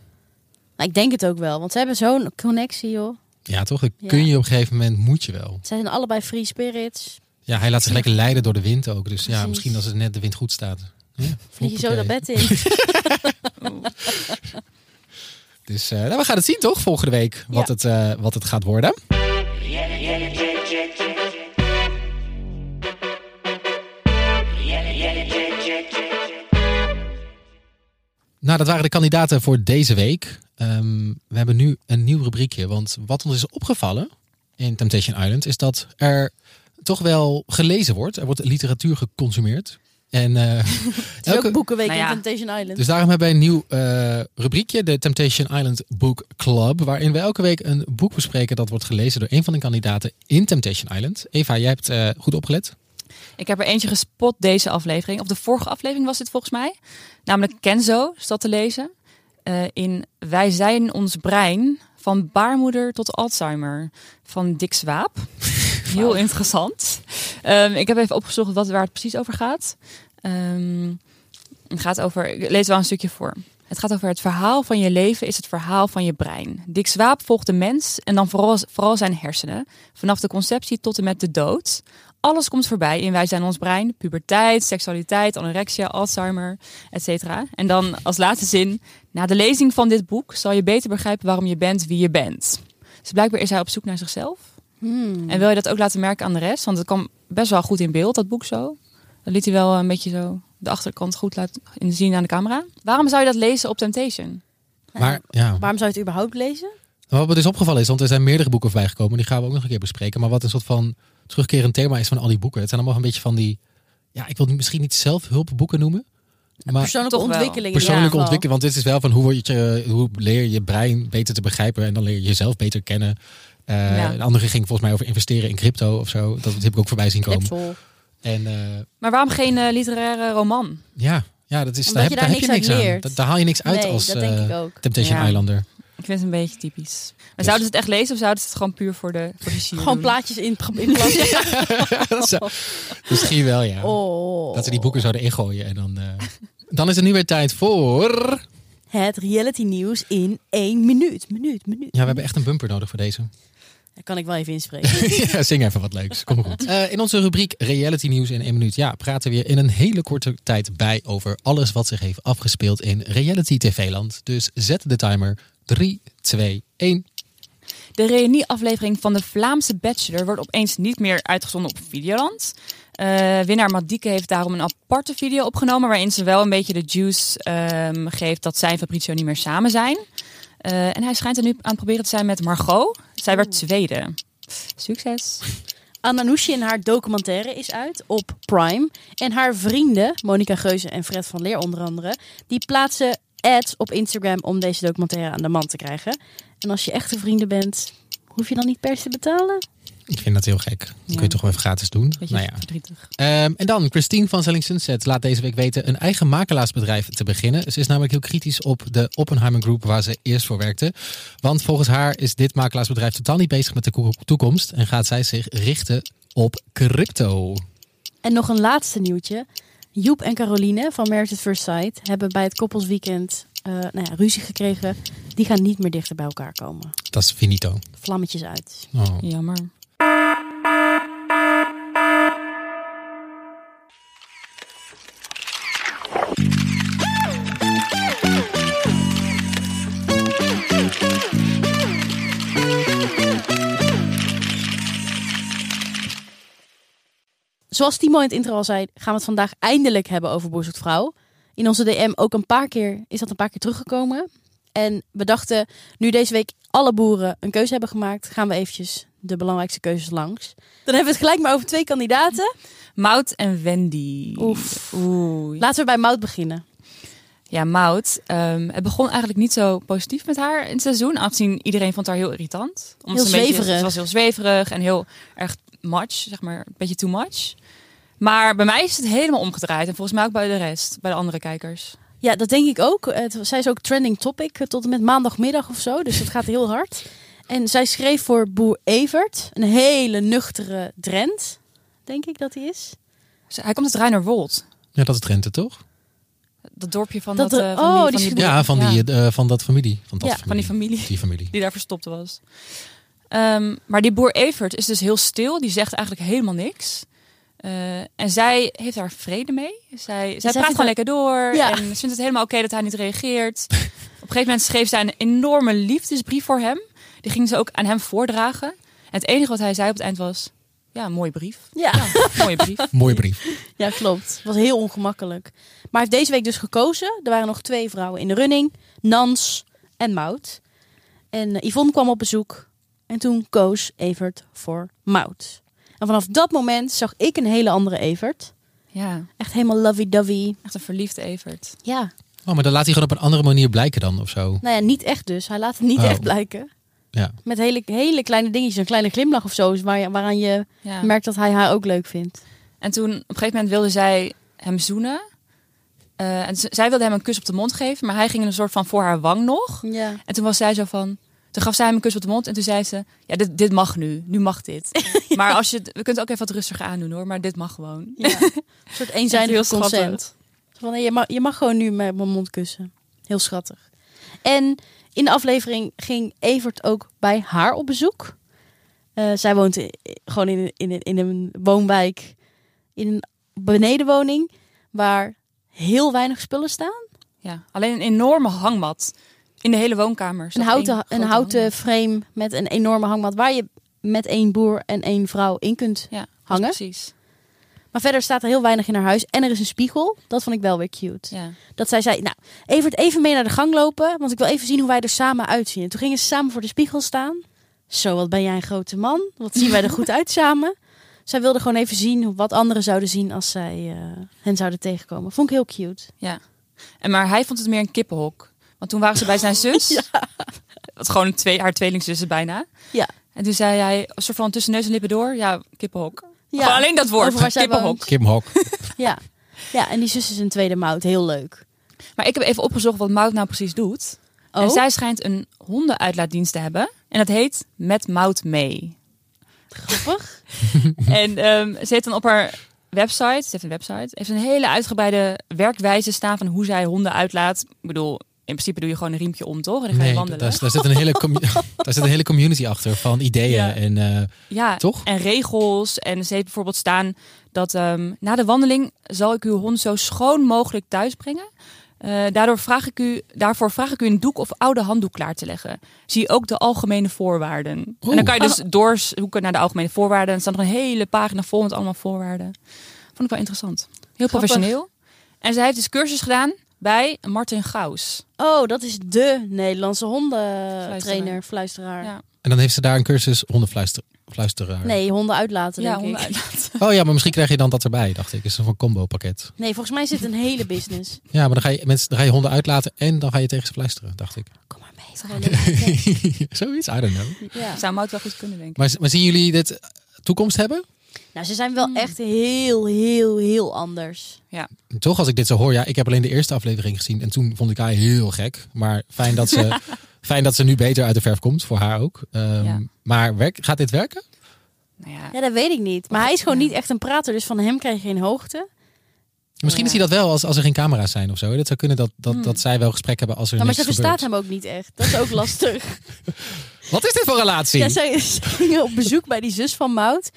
[SPEAKER 2] Nou, ik denk het ook wel, want ze hebben zo'n connectie, joh.
[SPEAKER 1] Ja, toch? Dat
[SPEAKER 2] Ja.
[SPEAKER 1] kun je op een gegeven moment, moet je wel.
[SPEAKER 2] Ze zijn allebei free spirits.
[SPEAKER 1] Ja, hij laat zich lekker leiden door de wind ook. Dus ja,
[SPEAKER 2] Precies.
[SPEAKER 1] misschien als het net de wind goed staat. Ja,
[SPEAKER 2] Vlieg je zo dat
[SPEAKER 1] hoppakee.
[SPEAKER 2] bed in.
[SPEAKER 1] Dus eh, nou, we gaan het zien toch volgende week wat,
[SPEAKER 2] Ja.
[SPEAKER 1] het, eh, wat het gaat worden.
[SPEAKER 4] Yeah, yeah, yeah, yeah, yeah.
[SPEAKER 1] Nou, dat waren de kandidaten voor deze week. Ehm, we hebben nu een nieuw rubriekje. Want wat ons is opgevallen in Temptation Island is dat er toch wel gelezen wordt. Er wordt literatuur geconsumeerd. En, eh,
[SPEAKER 2] Het is
[SPEAKER 1] elke-
[SPEAKER 2] ook boekenweek
[SPEAKER 3] Nou ja.
[SPEAKER 2] in Temptation Island.
[SPEAKER 1] dus daarom hebben wij een nieuw eh, rubriekje, de Temptation Island Book Club. Waarin we elke week een boek bespreken dat wordt gelezen door een van de kandidaten in Temptation Island. Eva, jij hebt eh, goed opgelet.
[SPEAKER 3] Ik heb er eentje gespot deze aflevering. Of de vorige aflevering was dit volgens mij. Namelijk Kenzo staat te lezen. eh, in Wij zijn ons brein. Van baarmoeder tot Alzheimer. Van Dick Swaap. Heel interessant. Ehm, ik heb even opgezocht wat, waar het precies over gaat. Ehm, het gaat over... Ik lees wel een stukje voor. Het gaat over het verhaal van je leven is het verhaal van je brein. Dick Swaap volgt de mens en dan vooral, vooral zijn hersenen. Vanaf de conceptie tot en met de dood. Alles komt voorbij in Wij zijn ons brein. Puberteit, seksualiteit, anorexia, Alzheimer, et cetera. En dan als laatste zin. Na de lezing van dit boek zal je beter begrijpen waarom je bent wie je bent. Dus blijkbaar is hij op zoek naar zichzelf.
[SPEAKER 2] Hmm.
[SPEAKER 3] En wil je dat ook laten merken aan de rest? Want het kwam best wel goed in beeld, dat boek zo. Dat liet hij wel een beetje zo de achterkant goed laten zien aan de camera. Waarom zou je dat lezen op Temptation?
[SPEAKER 1] Maar ja,
[SPEAKER 2] Waarom zou je het überhaupt lezen?
[SPEAKER 1] wat me dus opgevallen is, want er zijn meerdere boeken voorbij gekomen. Die gaan we ook nog een keer bespreken. Maar wat een soort van terugkerend thema is van al die boeken. Het zijn allemaal een beetje van die, ja, ik wil het misschien niet zelfhulpboeken noemen. Maar
[SPEAKER 2] Persoonlijke
[SPEAKER 3] toch wel.
[SPEAKER 2] ontwikkeling. in
[SPEAKER 1] persoonlijke
[SPEAKER 2] ieder geval.
[SPEAKER 1] ontwikkeling. Want dit is wel van hoe, word je, hoe leer je je brein beter te begrijpen en dan leer je jezelf beter kennen. Eh,
[SPEAKER 3] Ja.
[SPEAKER 1] Een andere ging volgens mij over investeren in crypto of zo. Dat heb ik ook voorbij zien komen.
[SPEAKER 2] Lipsol.
[SPEAKER 1] En eh,
[SPEAKER 3] Maar waarom geen eh, literaire roman?
[SPEAKER 1] ja, ja, dat is,
[SPEAKER 2] Omdat
[SPEAKER 1] daar, heb,
[SPEAKER 2] je
[SPEAKER 1] daar
[SPEAKER 2] daar
[SPEAKER 1] heb je
[SPEAKER 2] niks
[SPEAKER 1] niks
[SPEAKER 2] uit
[SPEAKER 1] aan.
[SPEAKER 2] leert.
[SPEAKER 1] Da- Daar haal je niks uit
[SPEAKER 2] Nee,
[SPEAKER 1] als
[SPEAKER 2] dat denk
[SPEAKER 1] eh,
[SPEAKER 2] ik ook.
[SPEAKER 1] Temptation
[SPEAKER 3] Ja.
[SPEAKER 1] Islander.
[SPEAKER 3] Ik vind het een beetje typisch. Maar
[SPEAKER 1] Dus-
[SPEAKER 3] zouden ze het echt lezen of zouden ze het gewoon puur voor de, voor de sier
[SPEAKER 2] Gewoon
[SPEAKER 3] doen?
[SPEAKER 2] plaatjes in, in plaatjes.
[SPEAKER 1] Dat zou- Misschien wel, ja.
[SPEAKER 2] Oh.
[SPEAKER 1] Dat ze die boeken zouden ingooien. En dan, eh, dan is het nu weer tijd voor...
[SPEAKER 2] Het reality nieuws in één minuut. Minuut, minuut.
[SPEAKER 1] Ja, we hebben echt een bumper nodig voor deze.
[SPEAKER 2] Dat kan ik wel even inspreken.
[SPEAKER 1] ja, zing even wat leuks. Kom maar goed. Eh, in onze rubriek Reality Nieuws in 1 minuut. Ja, praten we weer in een hele korte tijd bij over alles wat zich heeft afgespeeld in Reality TV-land. Dus zet de timer. 3, 2, 1.
[SPEAKER 3] De reunieaflevering van de Vlaamse Bachelor wordt opeens niet meer uitgezonden op Videoland. Eh, winnaar Madieke heeft daarom een aparte video opgenomen waarin ze wel een beetje de juice ehm, geeft dat zij en Fabrizio niet meer samen zijn. Eh, en hij schijnt er nu aan het proberen te zijn met Margot. Zij werd tweede. Succes.
[SPEAKER 2] Ananoushi en haar documentaire is uit op Prime. En haar vrienden, Monica Geuze en Fred van Leer onder andere, die plaatsen ads op Instagram om deze documentaire aan de man te krijgen. En als je echte vrienden bent, hoef je dan niet per se te betalen?
[SPEAKER 1] Ik vind dat heel gek. Dat kun
[SPEAKER 3] Ja.
[SPEAKER 1] je toch wel even gratis doen.
[SPEAKER 3] Beetje
[SPEAKER 1] Nou ja.
[SPEAKER 3] verdrietig.
[SPEAKER 1] Ehm, en dan, Christine van Selling Sunset laat deze week weten een eigen makelaarsbedrijf te beginnen. Ze is namelijk heel kritisch op de Oppenheimer Group waar ze eerst voor werkte. Want volgens haar is dit makelaarsbedrijf totaal niet bezig met de ko- toekomst en gaat zij zich richten op crypto.
[SPEAKER 2] En nog een laatste nieuwtje. Joep en Caroline van Marriage at First Sight hebben bij het koppelsweekend eh, nou ja, ruzie gekregen. Die gaan niet meer dichter bij elkaar komen.
[SPEAKER 1] Dat is finito.
[SPEAKER 2] Vlammetjes uit.
[SPEAKER 1] Oh.
[SPEAKER 3] Jammer.
[SPEAKER 2] Zoals Timo in het intro al zei, gaan we het vandaag eindelijk hebben over Boer Zoekt Vrouw. In onze DM ook een paar keer is dat een paar keer teruggekomen. En we dachten, nu deze week alle boeren een keuze hebben gemaakt, gaan we eventjes de belangrijkste keuzes langs. Dan hebben we het gelijk maar over twee kandidaten.
[SPEAKER 3] Maud en Wendy.
[SPEAKER 2] Oef.
[SPEAKER 3] Oei.
[SPEAKER 2] Laten we bij Mout beginnen.
[SPEAKER 3] Ja, Maud. ehm, het begon eigenlijk niet zo positief met haar in het seizoen. Aangezien iedereen vond haar heel irritant.
[SPEAKER 2] Heel
[SPEAKER 3] ze een beetje-
[SPEAKER 2] zweverig.
[SPEAKER 3] Ze was heel zweverig en heel erg much, zeg maar. Een beetje too much. Maar bij mij is het helemaal omgedraaid. En volgens mij ook bij de rest, bij de andere kijkers.
[SPEAKER 2] Ja, dat denk ik ook. Het, zij is ook trending topic eh, tot en met maandagmiddag of zo. Dus dat gaat heel hard. En zij schreef voor Boer Evert. Een hele nuchtere Drent, denk ik dat hij is.
[SPEAKER 3] Ze- Dus Hij komt uit Reinerwold.
[SPEAKER 1] Ja, dat is Drenthe, toch?
[SPEAKER 3] Dat dorpje van dat...
[SPEAKER 2] Dat
[SPEAKER 3] eh,
[SPEAKER 2] er-
[SPEAKER 3] van
[SPEAKER 2] oh,
[SPEAKER 3] die,
[SPEAKER 2] die
[SPEAKER 3] van die,
[SPEAKER 2] Ja,
[SPEAKER 1] Ja, van,
[SPEAKER 3] ja,
[SPEAKER 1] Die, eh, van dat familie. Van, dat
[SPEAKER 2] Ja,
[SPEAKER 1] familie.
[SPEAKER 3] van die familie.
[SPEAKER 1] Die familie.
[SPEAKER 3] die daar verstopt was. Ehm, maar die boer Evert is dus heel stil. Die zegt eigenlijk helemaal niks. Eh, en zij heeft daar vrede mee. Zij, zij
[SPEAKER 2] vindt
[SPEAKER 3] praat gewoon
[SPEAKER 2] het-
[SPEAKER 3] lekker door.
[SPEAKER 2] Ja.
[SPEAKER 3] En ze vindt het helemaal oké dat hij niet reageert. Op een gegeven moment schreef zij een enorme liefdesbrief voor hem. Die ging ze ook aan hem voordragen. En het enige wat hij zei op het eind was... Ja, een mooie brief.
[SPEAKER 2] Ja.
[SPEAKER 3] mooie brief.
[SPEAKER 1] Mooie brief.
[SPEAKER 2] ja, klopt. Was heel ongemakkelijk. Maar hij heeft deze week dus gekozen. Er waren nog twee vrouwen in de running. Nans en Mout. En eh, Yvonne kwam op bezoek. En toen koos Evert voor Mout. En vanaf dat moment zag ik een hele andere Evert.
[SPEAKER 3] Ja,
[SPEAKER 2] Echt helemaal lovey-dovey.
[SPEAKER 3] echt een verliefd Evert.
[SPEAKER 2] Ja.
[SPEAKER 1] Oh, maar dan laat hij gewoon op een andere manier blijken dan of zo.
[SPEAKER 2] Nou ja, niet echt dus. Hij laat het niet
[SPEAKER 1] Oh.
[SPEAKER 2] echt blijken.
[SPEAKER 1] Ja.
[SPEAKER 2] Met hele, hele kleine dingetjes. Een kleine glimlach of zo. is waar- Waaraan je
[SPEAKER 3] Ja.
[SPEAKER 2] merkt dat hij haar ook leuk vindt.
[SPEAKER 3] En toen, op een gegeven moment wilde zij hem zoenen. Eh, en z- zij wilde hem een kus op de mond geven, maar hij ging een soort van voor haar wang nog.
[SPEAKER 2] Ja.
[SPEAKER 3] En toen was zij zo van... Toen gaf zij hem een kus op de mond en toen zei ze... Ja, dit, dit mag nu. Nu mag dit. Maar als je... het- We kunnen het ook even wat rustiger aandoen hoor, maar dit mag gewoon.
[SPEAKER 2] Ja. Een soort eenzijdig
[SPEAKER 3] Echt heel
[SPEAKER 2] consent.
[SPEAKER 3] schattig.
[SPEAKER 2] Van, nee, je, mag, je mag gewoon nu met mijn mond kussen. Heel schattig. En in de aflevering ging Evert ook bij haar op bezoek. Eh, zij woont i- gewoon in, een- in, een- in een woonwijk, in een benedenwoning, waar heel weinig spullen staan.
[SPEAKER 3] Ja. Alleen een enorme hangmat in de hele woonkamer.
[SPEAKER 2] Een
[SPEAKER 3] Zat
[SPEAKER 2] houten,
[SPEAKER 3] één
[SPEAKER 2] een
[SPEAKER 3] grote
[SPEAKER 2] houten
[SPEAKER 3] hangmat.
[SPEAKER 2] frame met een enorme hangmat, waar je met één boer en één vrouw in kunt.
[SPEAKER 3] Ja,
[SPEAKER 2] hangen.
[SPEAKER 3] Precies.
[SPEAKER 2] Maar verder staat er heel weinig in haar huis. En er is een spiegel. Dat vond ik wel weer cute.
[SPEAKER 3] Ja.
[SPEAKER 2] Dat zij zei, nou, Evert, even mee naar de gang lopen. Want ik wil even zien hoe wij er samen uitzien. En toen gingen ze samen voor de spiegel staan. Zo, wat ben jij een grote man. Wat zien wij er goed uit samen. Zij wilde gewoon even zien wat anderen zouden zien als zij eh, hen zouden tegenkomen. Vond ik heel cute.
[SPEAKER 3] En maar hij vond het meer een kippenhok. Want toen waren ze bij zijn zus. Wat gewoon twee, haar tweelingzussen bijna.
[SPEAKER 2] Ja.
[SPEAKER 3] En toen zei hij, een soort van tussen neus en lippen door. Ja, kippenhok.
[SPEAKER 2] Ja,
[SPEAKER 3] Gewoon alleen dat
[SPEAKER 2] over waar
[SPEAKER 3] woord,
[SPEAKER 2] zij
[SPEAKER 3] kippenhok.
[SPEAKER 2] woont.
[SPEAKER 1] Kim Hok.
[SPEAKER 2] Ja. ja, en die zus is een tweede mout. Heel leuk.
[SPEAKER 3] Maar ik heb even opgezocht wat Mout nou precies doet.
[SPEAKER 2] Oh,
[SPEAKER 3] En zij schijnt een hondenuitlaatdienst te hebben. En dat heet Met Mout Mee.
[SPEAKER 2] grappig.
[SPEAKER 3] en ehm, ze heeft dan op haar website, ze heeft een website, heeft een hele uitgebreide werkwijze staan van hoe zij honden uitlaat. Ik bedoel, in principe doe je gewoon een riempje om, toch? En dan ga je
[SPEAKER 1] Nee, daar,
[SPEAKER 3] wandelen.
[SPEAKER 1] daar zit een hele commu- daar zit een hele community achter van ideeën
[SPEAKER 3] Ja.
[SPEAKER 1] en eh,
[SPEAKER 3] Ja,
[SPEAKER 1] toch?
[SPEAKER 3] en regels. En ze heeft bijvoorbeeld staan dat ehm, na de wandeling zal ik uw hond zo schoon mogelijk thuis brengen. Eh, daardoor vraag ik u, daarvoor vraag ik u een doek of oude handdoek klaar te leggen. Zie ook de algemene voorwaarden. En
[SPEAKER 1] Oeh.
[SPEAKER 3] dan kan je dus doorzoeken naar de algemene voorwaarden. En er staat nog een hele pagina vol met allemaal voorwaarden. Vond ik wel interessant. Heel professioneel. En zij heeft dus cursus gedaan bij Martin Gaus.
[SPEAKER 2] Oh, dat is de Nederlandse hondentrainer, fluisteraar.
[SPEAKER 3] Ja.
[SPEAKER 1] En dan heeft ze daar een cursus hondenfluisteraar.
[SPEAKER 2] Nee, honden uitlaten,
[SPEAKER 3] Ja,
[SPEAKER 2] denk ik.
[SPEAKER 3] honden uitlaten.
[SPEAKER 1] Oh ja, maar misschien krijg je dan dat erbij, dacht ik. Is een combo pakket.
[SPEAKER 2] Nee, volgens mij zit een hele business.
[SPEAKER 1] Ja, maar dan ga je, mensen, dan ga je honden uitlaten en dan ga je tegen ze fluisteren, dacht ik.
[SPEAKER 2] Kom maar mee.
[SPEAKER 1] Zoiets, I don't know.
[SPEAKER 2] Ja.
[SPEAKER 3] Zou Mout wel goed kunnen, denk ik.
[SPEAKER 1] Maar, maar zien jullie dit toekomst hebben?
[SPEAKER 2] Nou, ze zijn wel echt heel, heel, heel anders.
[SPEAKER 1] Toch, als ik dit zo hoor, ja, ik heb alleen de eerste aflevering gezien en toen vond ik haar heel gek. Maar fijn dat ze, fijn dat ze nu beter uit de verf komt, voor haar ook. Ehm,
[SPEAKER 3] Ja.
[SPEAKER 1] Maar werk, gaat dit werken?
[SPEAKER 3] Nou ja,
[SPEAKER 2] Ja, dat weet ik niet. Maar hij is gewoon niet echt een prater, dus van hem krijg je geen hoogte.
[SPEAKER 1] Misschien
[SPEAKER 3] Ja.
[SPEAKER 1] is hij dat wel als, als er geen camera's zijn of zo. Dat zou kunnen dat, dat,
[SPEAKER 3] Hmm.
[SPEAKER 1] dat zij wel gesprek hebben als er
[SPEAKER 2] Nou, maar
[SPEAKER 1] niks
[SPEAKER 2] ze
[SPEAKER 1] gebeurt.
[SPEAKER 2] verstaat hem ook niet echt. Dat is ook lastig.
[SPEAKER 1] Wat is dit voor relatie?
[SPEAKER 2] ja, zij ze gingen op bezoek bij die zus van Mout.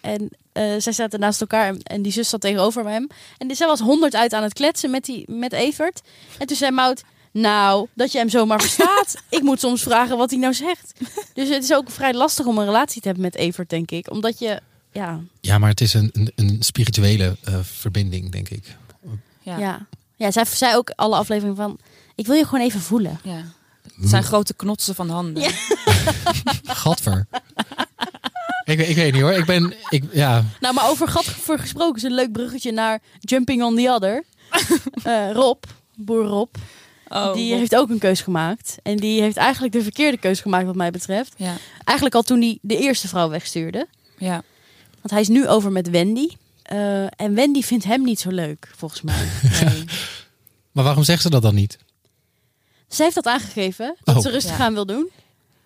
[SPEAKER 2] En eh, zij zaten naast elkaar en, en die zus zat tegenover hem. En zij was honderd uit aan het kletsen met, die, met Evert. En toen zei Mout, nou, dat je hem zomaar verstaat. ik moet soms vragen wat hij nou zegt. Dus het is ook vrij lastig om een relatie te hebben met Evert, denk ik. Omdat je, ja,
[SPEAKER 1] Ja, maar het is een, een, een spirituele eh, verbinding, denk ik.
[SPEAKER 3] ja. ja.
[SPEAKER 2] Ja. Ja, zij zei ook alle afleveringen van... Ik wil je gewoon even voelen.
[SPEAKER 3] Het
[SPEAKER 1] Hm.
[SPEAKER 3] zijn grote knotsen van handen.
[SPEAKER 2] Ja.
[SPEAKER 1] Gadver. ik, weet- ik weet niet hoor. Ik ben, ik, ja,
[SPEAKER 2] Nou, maar over gat voor gesproken is een leuk bruggetje naar Jumping on the Other. Eh, Rob, boer Rob,
[SPEAKER 3] Oh,
[SPEAKER 2] die
[SPEAKER 3] Rob.
[SPEAKER 2] heeft ook een keus gemaakt. En die heeft eigenlijk de verkeerde keus gemaakt wat mij betreft.
[SPEAKER 3] Ja,
[SPEAKER 2] Eigenlijk al toen hij de eerste vrouw wegstuurde.
[SPEAKER 3] ja.
[SPEAKER 2] Want hij is nu over met Wendy. Eh, en Wendy vindt hem niet zo leuk, volgens mij.
[SPEAKER 3] Nee.
[SPEAKER 1] maar waarom zegt ze dat dan niet?
[SPEAKER 2] Zij heeft dat aangegeven, dat
[SPEAKER 1] Oh.
[SPEAKER 2] ze rustig
[SPEAKER 3] Ja.
[SPEAKER 2] aan wil doen.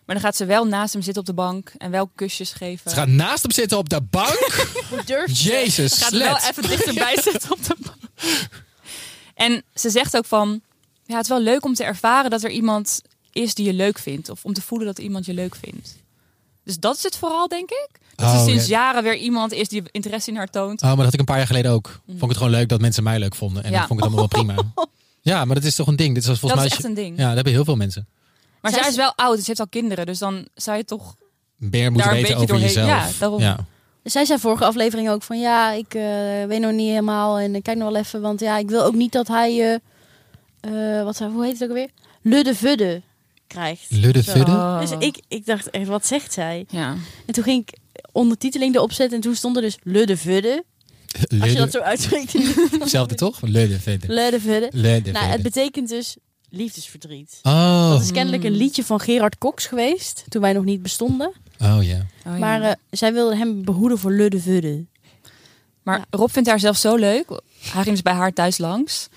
[SPEAKER 3] Maar dan gaat ze wel naast hem zitten op de bank en wel kusjes geven.
[SPEAKER 1] Ze gaat naast hem zitten op de bank.
[SPEAKER 2] Hoe durft ze?
[SPEAKER 1] Jezus,
[SPEAKER 3] Ze gaat er wel
[SPEAKER 1] slet.
[SPEAKER 3] even dichterbij zitten op de bank. En ze zegt ook van, ja, het is wel leuk om te ervaren dat er iemand is die je leuk vindt. Of om te voelen dat iemand je leuk vindt. Dus dat is het vooral, denk ik. Dat
[SPEAKER 1] Oh,
[SPEAKER 3] ze sinds
[SPEAKER 1] ja.
[SPEAKER 3] jaren weer iemand is die interesse in haar toont.
[SPEAKER 1] Oh, maar dat had ik een paar jaar geleden ook. Vond ik het gewoon leuk dat mensen mij leuk vonden. En
[SPEAKER 3] Mm. Ja.
[SPEAKER 1] dat vond ik het allemaal wel prima. Ja, maar dat is toch een ding. Dit was
[SPEAKER 3] dat
[SPEAKER 1] volgens
[SPEAKER 3] is
[SPEAKER 1] mij...
[SPEAKER 3] echt een ding.
[SPEAKER 1] Ja, dat hebben heel veel mensen.
[SPEAKER 3] Maar
[SPEAKER 2] Zij
[SPEAKER 3] zij
[SPEAKER 2] is-
[SPEAKER 3] is wel oud, dus ze heeft al kinderen. Dus dan zou je toch
[SPEAKER 1] Meer moeten
[SPEAKER 3] daar
[SPEAKER 1] weten
[SPEAKER 3] een beetje
[SPEAKER 1] over
[SPEAKER 3] doorheen...
[SPEAKER 1] jezelf.
[SPEAKER 3] Ja, daarom.
[SPEAKER 1] Ja.
[SPEAKER 2] Dus Zij zei vorige aflevering ook van ja, ik eh, weet nog niet helemaal en ik kijk nog wel even, want ja, ik wil ook niet dat hij, eh, eh, wat, zei- hoe heet het ook alweer? Ludde Vudde krijgt.
[SPEAKER 1] Ludde
[SPEAKER 2] Zo.
[SPEAKER 1] Vudde?
[SPEAKER 3] Oh.
[SPEAKER 2] Dus ik, ik dacht echt, wat zegt zij?
[SPEAKER 3] Ja.
[SPEAKER 2] En toen ging ik ondertiteling erop zetten en toen stond er dus Ludde Vudde. Als je dat
[SPEAKER 1] Ludde,
[SPEAKER 2] zo uitspreekt.
[SPEAKER 1] hetzelfde toch? Ludde Vudde.
[SPEAKER 2] Ludde Vudde.
[SPEAKER 1] Ludde
[SPEAKER 2] Nou, het
[SPEAKER 1] Vudde.
[SPEAKER 2] betekent dus liefdesverdriet. Dat
[SPEAKER 1] Oh,
[SPEAKER 2] is kennelijk een
[SPEAKER 3] Hmm.
[SPEAKER 2] liedje van Gerard Cox geweest, toen wij nog niet bestonden.
[SPEAKER 1] oh ja.
[SPEAKER 3] Oh, ja.
[SPEAKER 2] Maar eh, zij wilde hem behoeden voor Ludde Vudde.
[SPEAKER 3] Maar
[SPEAKER 2] Ja.
[SPEAKER 3] Rob vindt haar zelf zo leuk. Hij ging dus bij haar thuis langs.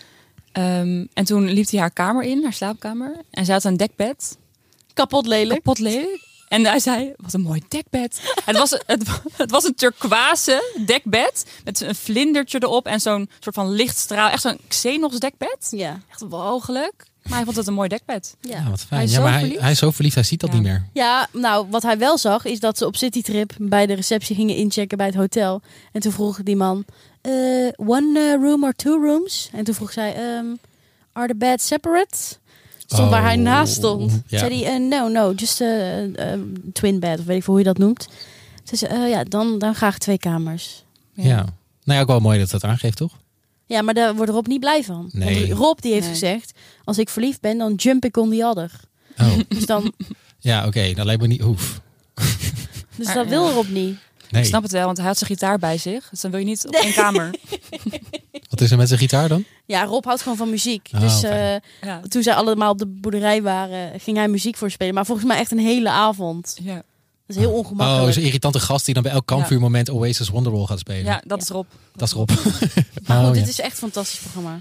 [SPEAKER 3] Ehm, en toen liep hij haar kamer in, haar slaapkamer. En zij had een dekbed.
[SPEAKER 2] Kapot lelijk.
[SPEAKER 3] Kapot lelijk. En hij zei, wat een mooi dekbed. het, was, het, wa- het was een turquoise dekbed. Met een vlindertje erop en zo'n soort van lichtstraal. Echt zo'n Xenos dekbed.
[SPEAKER 2] Ja.
[SPEAKER 3] Echt mogelijk. Maar hij vond het een mooi dekbed.
[SPEAKER 2] Ja.
[SPEAKER 1] Ja, Ah, wat fijn.
[SPEAKER 3] Hij is
[SPEAKER 1] ja,
[SPEAKER 3] zo
[SPEAKER 1] maar hij,
[SPEAKER 3] verliefd.
[SPEAKER 1] hij is zo verliefd, hij ziet dat
[SPEAKER 3] Ja.
[SPEAKER 1] niet meer.
[SPEAKER 2] Ja, nou, wat hij wel zag is dat ze op citytrip bij de receptie gingen inchecken bij het hotel. En toen vroeg die man, eh, one eh, room or two rooms? En toen vroeg zij, ehm, are the beds separate? Stond waar hij
[SPEAKER 1] Oh,
[SPEAKER 2] naast stond.
[SPEAKER 1] ja.
[SPEAKER 2] Zei hij, eh, no, no, just a, a twin bed, of weet ik veel hoe je dat noemt. Ze zei, eh, ja, dan, dan graag twee kamers.
[SPEAKER 1] Ja. Nou ja, ook wel mooi dat dat aangeeft, toch?
[SPEAKER 2] Ja, maar daar wordt Rob niet blij van.
[SPEAKER 1] Nee.
[SPEAKER 2] Want Rob die heeft
[SPEAKER 3] Nee.
[SPEAKER 2] gezegd, als ik verliefd ben, dan jump ik on the other.
[SPEAKER 1] Oh,
[SPEAKER 2] Dus, dan,
[SPEAKER 1] ja, oké. Dat lijkt me niet hoef.
[SPEAKER 2] dus
[SPEAKER 3] Maar,
[SPEAKER 2] dat
[SPEAKER 3] ja.
[SPEAKER 2] wil Rob niet.
[SPEAKER 1] Nee.
[SPEAKER 3] Ik snap het wel, want hij had zijn gitaar bij zich. Dus dan wil je niet op één kamer.
[SPEAKER 1] Wat is er met zijn gitaar dan?
[SPEAKER 2] Ja, Rob houdt gewoon van muziek.
[SPEAKER 1] Oh,
[SPEAKER 2] dus
[SPEAKER 1] fijn.
[SPEAKER 2] eh,
[SPEAKER 3] Ja.
[SPEAKER 2] toen zij allemaal op de boerderij waren, ging hij muziek voorspelen. Maar volgens mij echt een hele avond.
[SPEAKER 3] Ja.
[SPEAKER 2] Dat is heel
[SPEAKER 1] Oh,
[SPEAKER 2] ongemakkelijk.
[SPEAKER 1] zo'n irritante gast die dan bij elk kampvuurmoment Oasis Wonderwall gaat spelen.
[SPEAKER 3] ja, dat is Rob.
[SPEAKER 1] Dat is Rob.
[SPEAKER 2] maar goed,
[SPEAKER 1] Oh, ja.
[SPEAKER 2] dit is echt een fantastisch programma.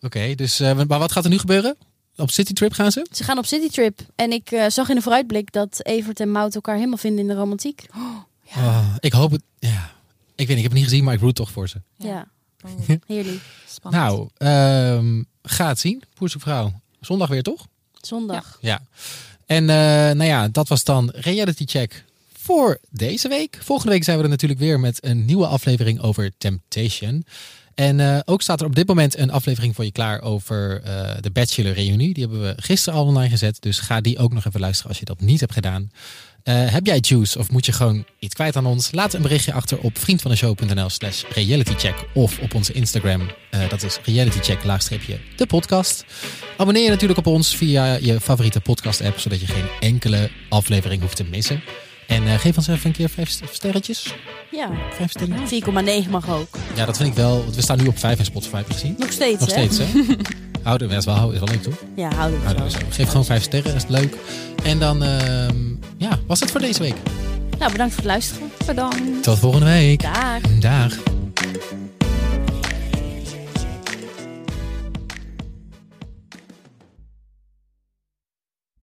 [SPEAKER 1] Oké, dus eh, maar wat gaat er nu gebeuren? Op citytrip gaan ze?
[SPEAKER 2] Ze gaan op citytrip. En ik eh, zag in de vooruitblik dat Evert en Mout elkaar helemaal vinden in de romantiek.
[SPEAKER 3] Ja.
[SPEAKER 1] Ah, ik hoop het. Ja. Ik weet niet, ik heb het niet gezien, maar ik roet toch voor ze.
[SPEAKER 2] Ja,
[SPEAKER 3] Oh,
[SPEAKER 2] heerlijk.
[SPEAKER 3] spannend.
[SPEAKER 1] Nou, ehm, ga het zien. Poes op vrouw. Zondag weer, toch?
[SPEAKER 2] Zondag.
[SPEAKER 1] Ja. En eh, nou ja, dat was dan Reality Check voor deze week. Volgende week zijn we er natuurlijk weer met een nieuwe aflevering over Temptation. En eh, ook staat er op dit moment een aflevering voor je klaar over eh, de Bachelor Reunie. Die hebben we gisteren al online gezet. Dus ga die ook nog even luisteren als je dat niet hebt gedaan. Eh, heb jij juice of moet je gewoon iets kwijt aan ons? Laat een berichtje achter op vriendvandeshow.nl slash realitycheck of op onze Instagram. Eh, dat is realitycheck laagstreepje de podcast. Abonneer je natuurlijk op ons via je favoriete podcast app, zodat je geen enkele aflevering hoeft te missen. En eh, geef ons even een keer vijf st- sterretjes.
[SPEAKER 2] Ja.
[SPEAKER 1] Vijf sterren.
[SPEAKER 2] 4,9 mag ook.
[SPEAKER 1] Ja, dat vind ik wel. Want we staan nu op vijf in Spotify, heb je gezien?
[SPEAKER 2] Nog steeds,
[SPEAKER 1] Nog
[SPEAKER 2] hè?
[SPEAKER 1] steeds, hè? Houden we, dat is wel, hou- is wel leuk, toch?
[SPEAKER 2] Ja, houden we
[SPEAKER 1] Houden
[SPEAKER 2] zo.
[SPEAKER 1] we zo. Geef gewoon vijf sterren, dat is leuk. En dan, ehm, ja, was het voor deze week.
[SPEAKER 2] Nou, bedankt voor het luisteren.
[SPEAKER 3] Bedankt.
[SPEAKER 1] Tot volgende week.
[SPEAKER 2] Dag.
[SPEAKER 1] Dag.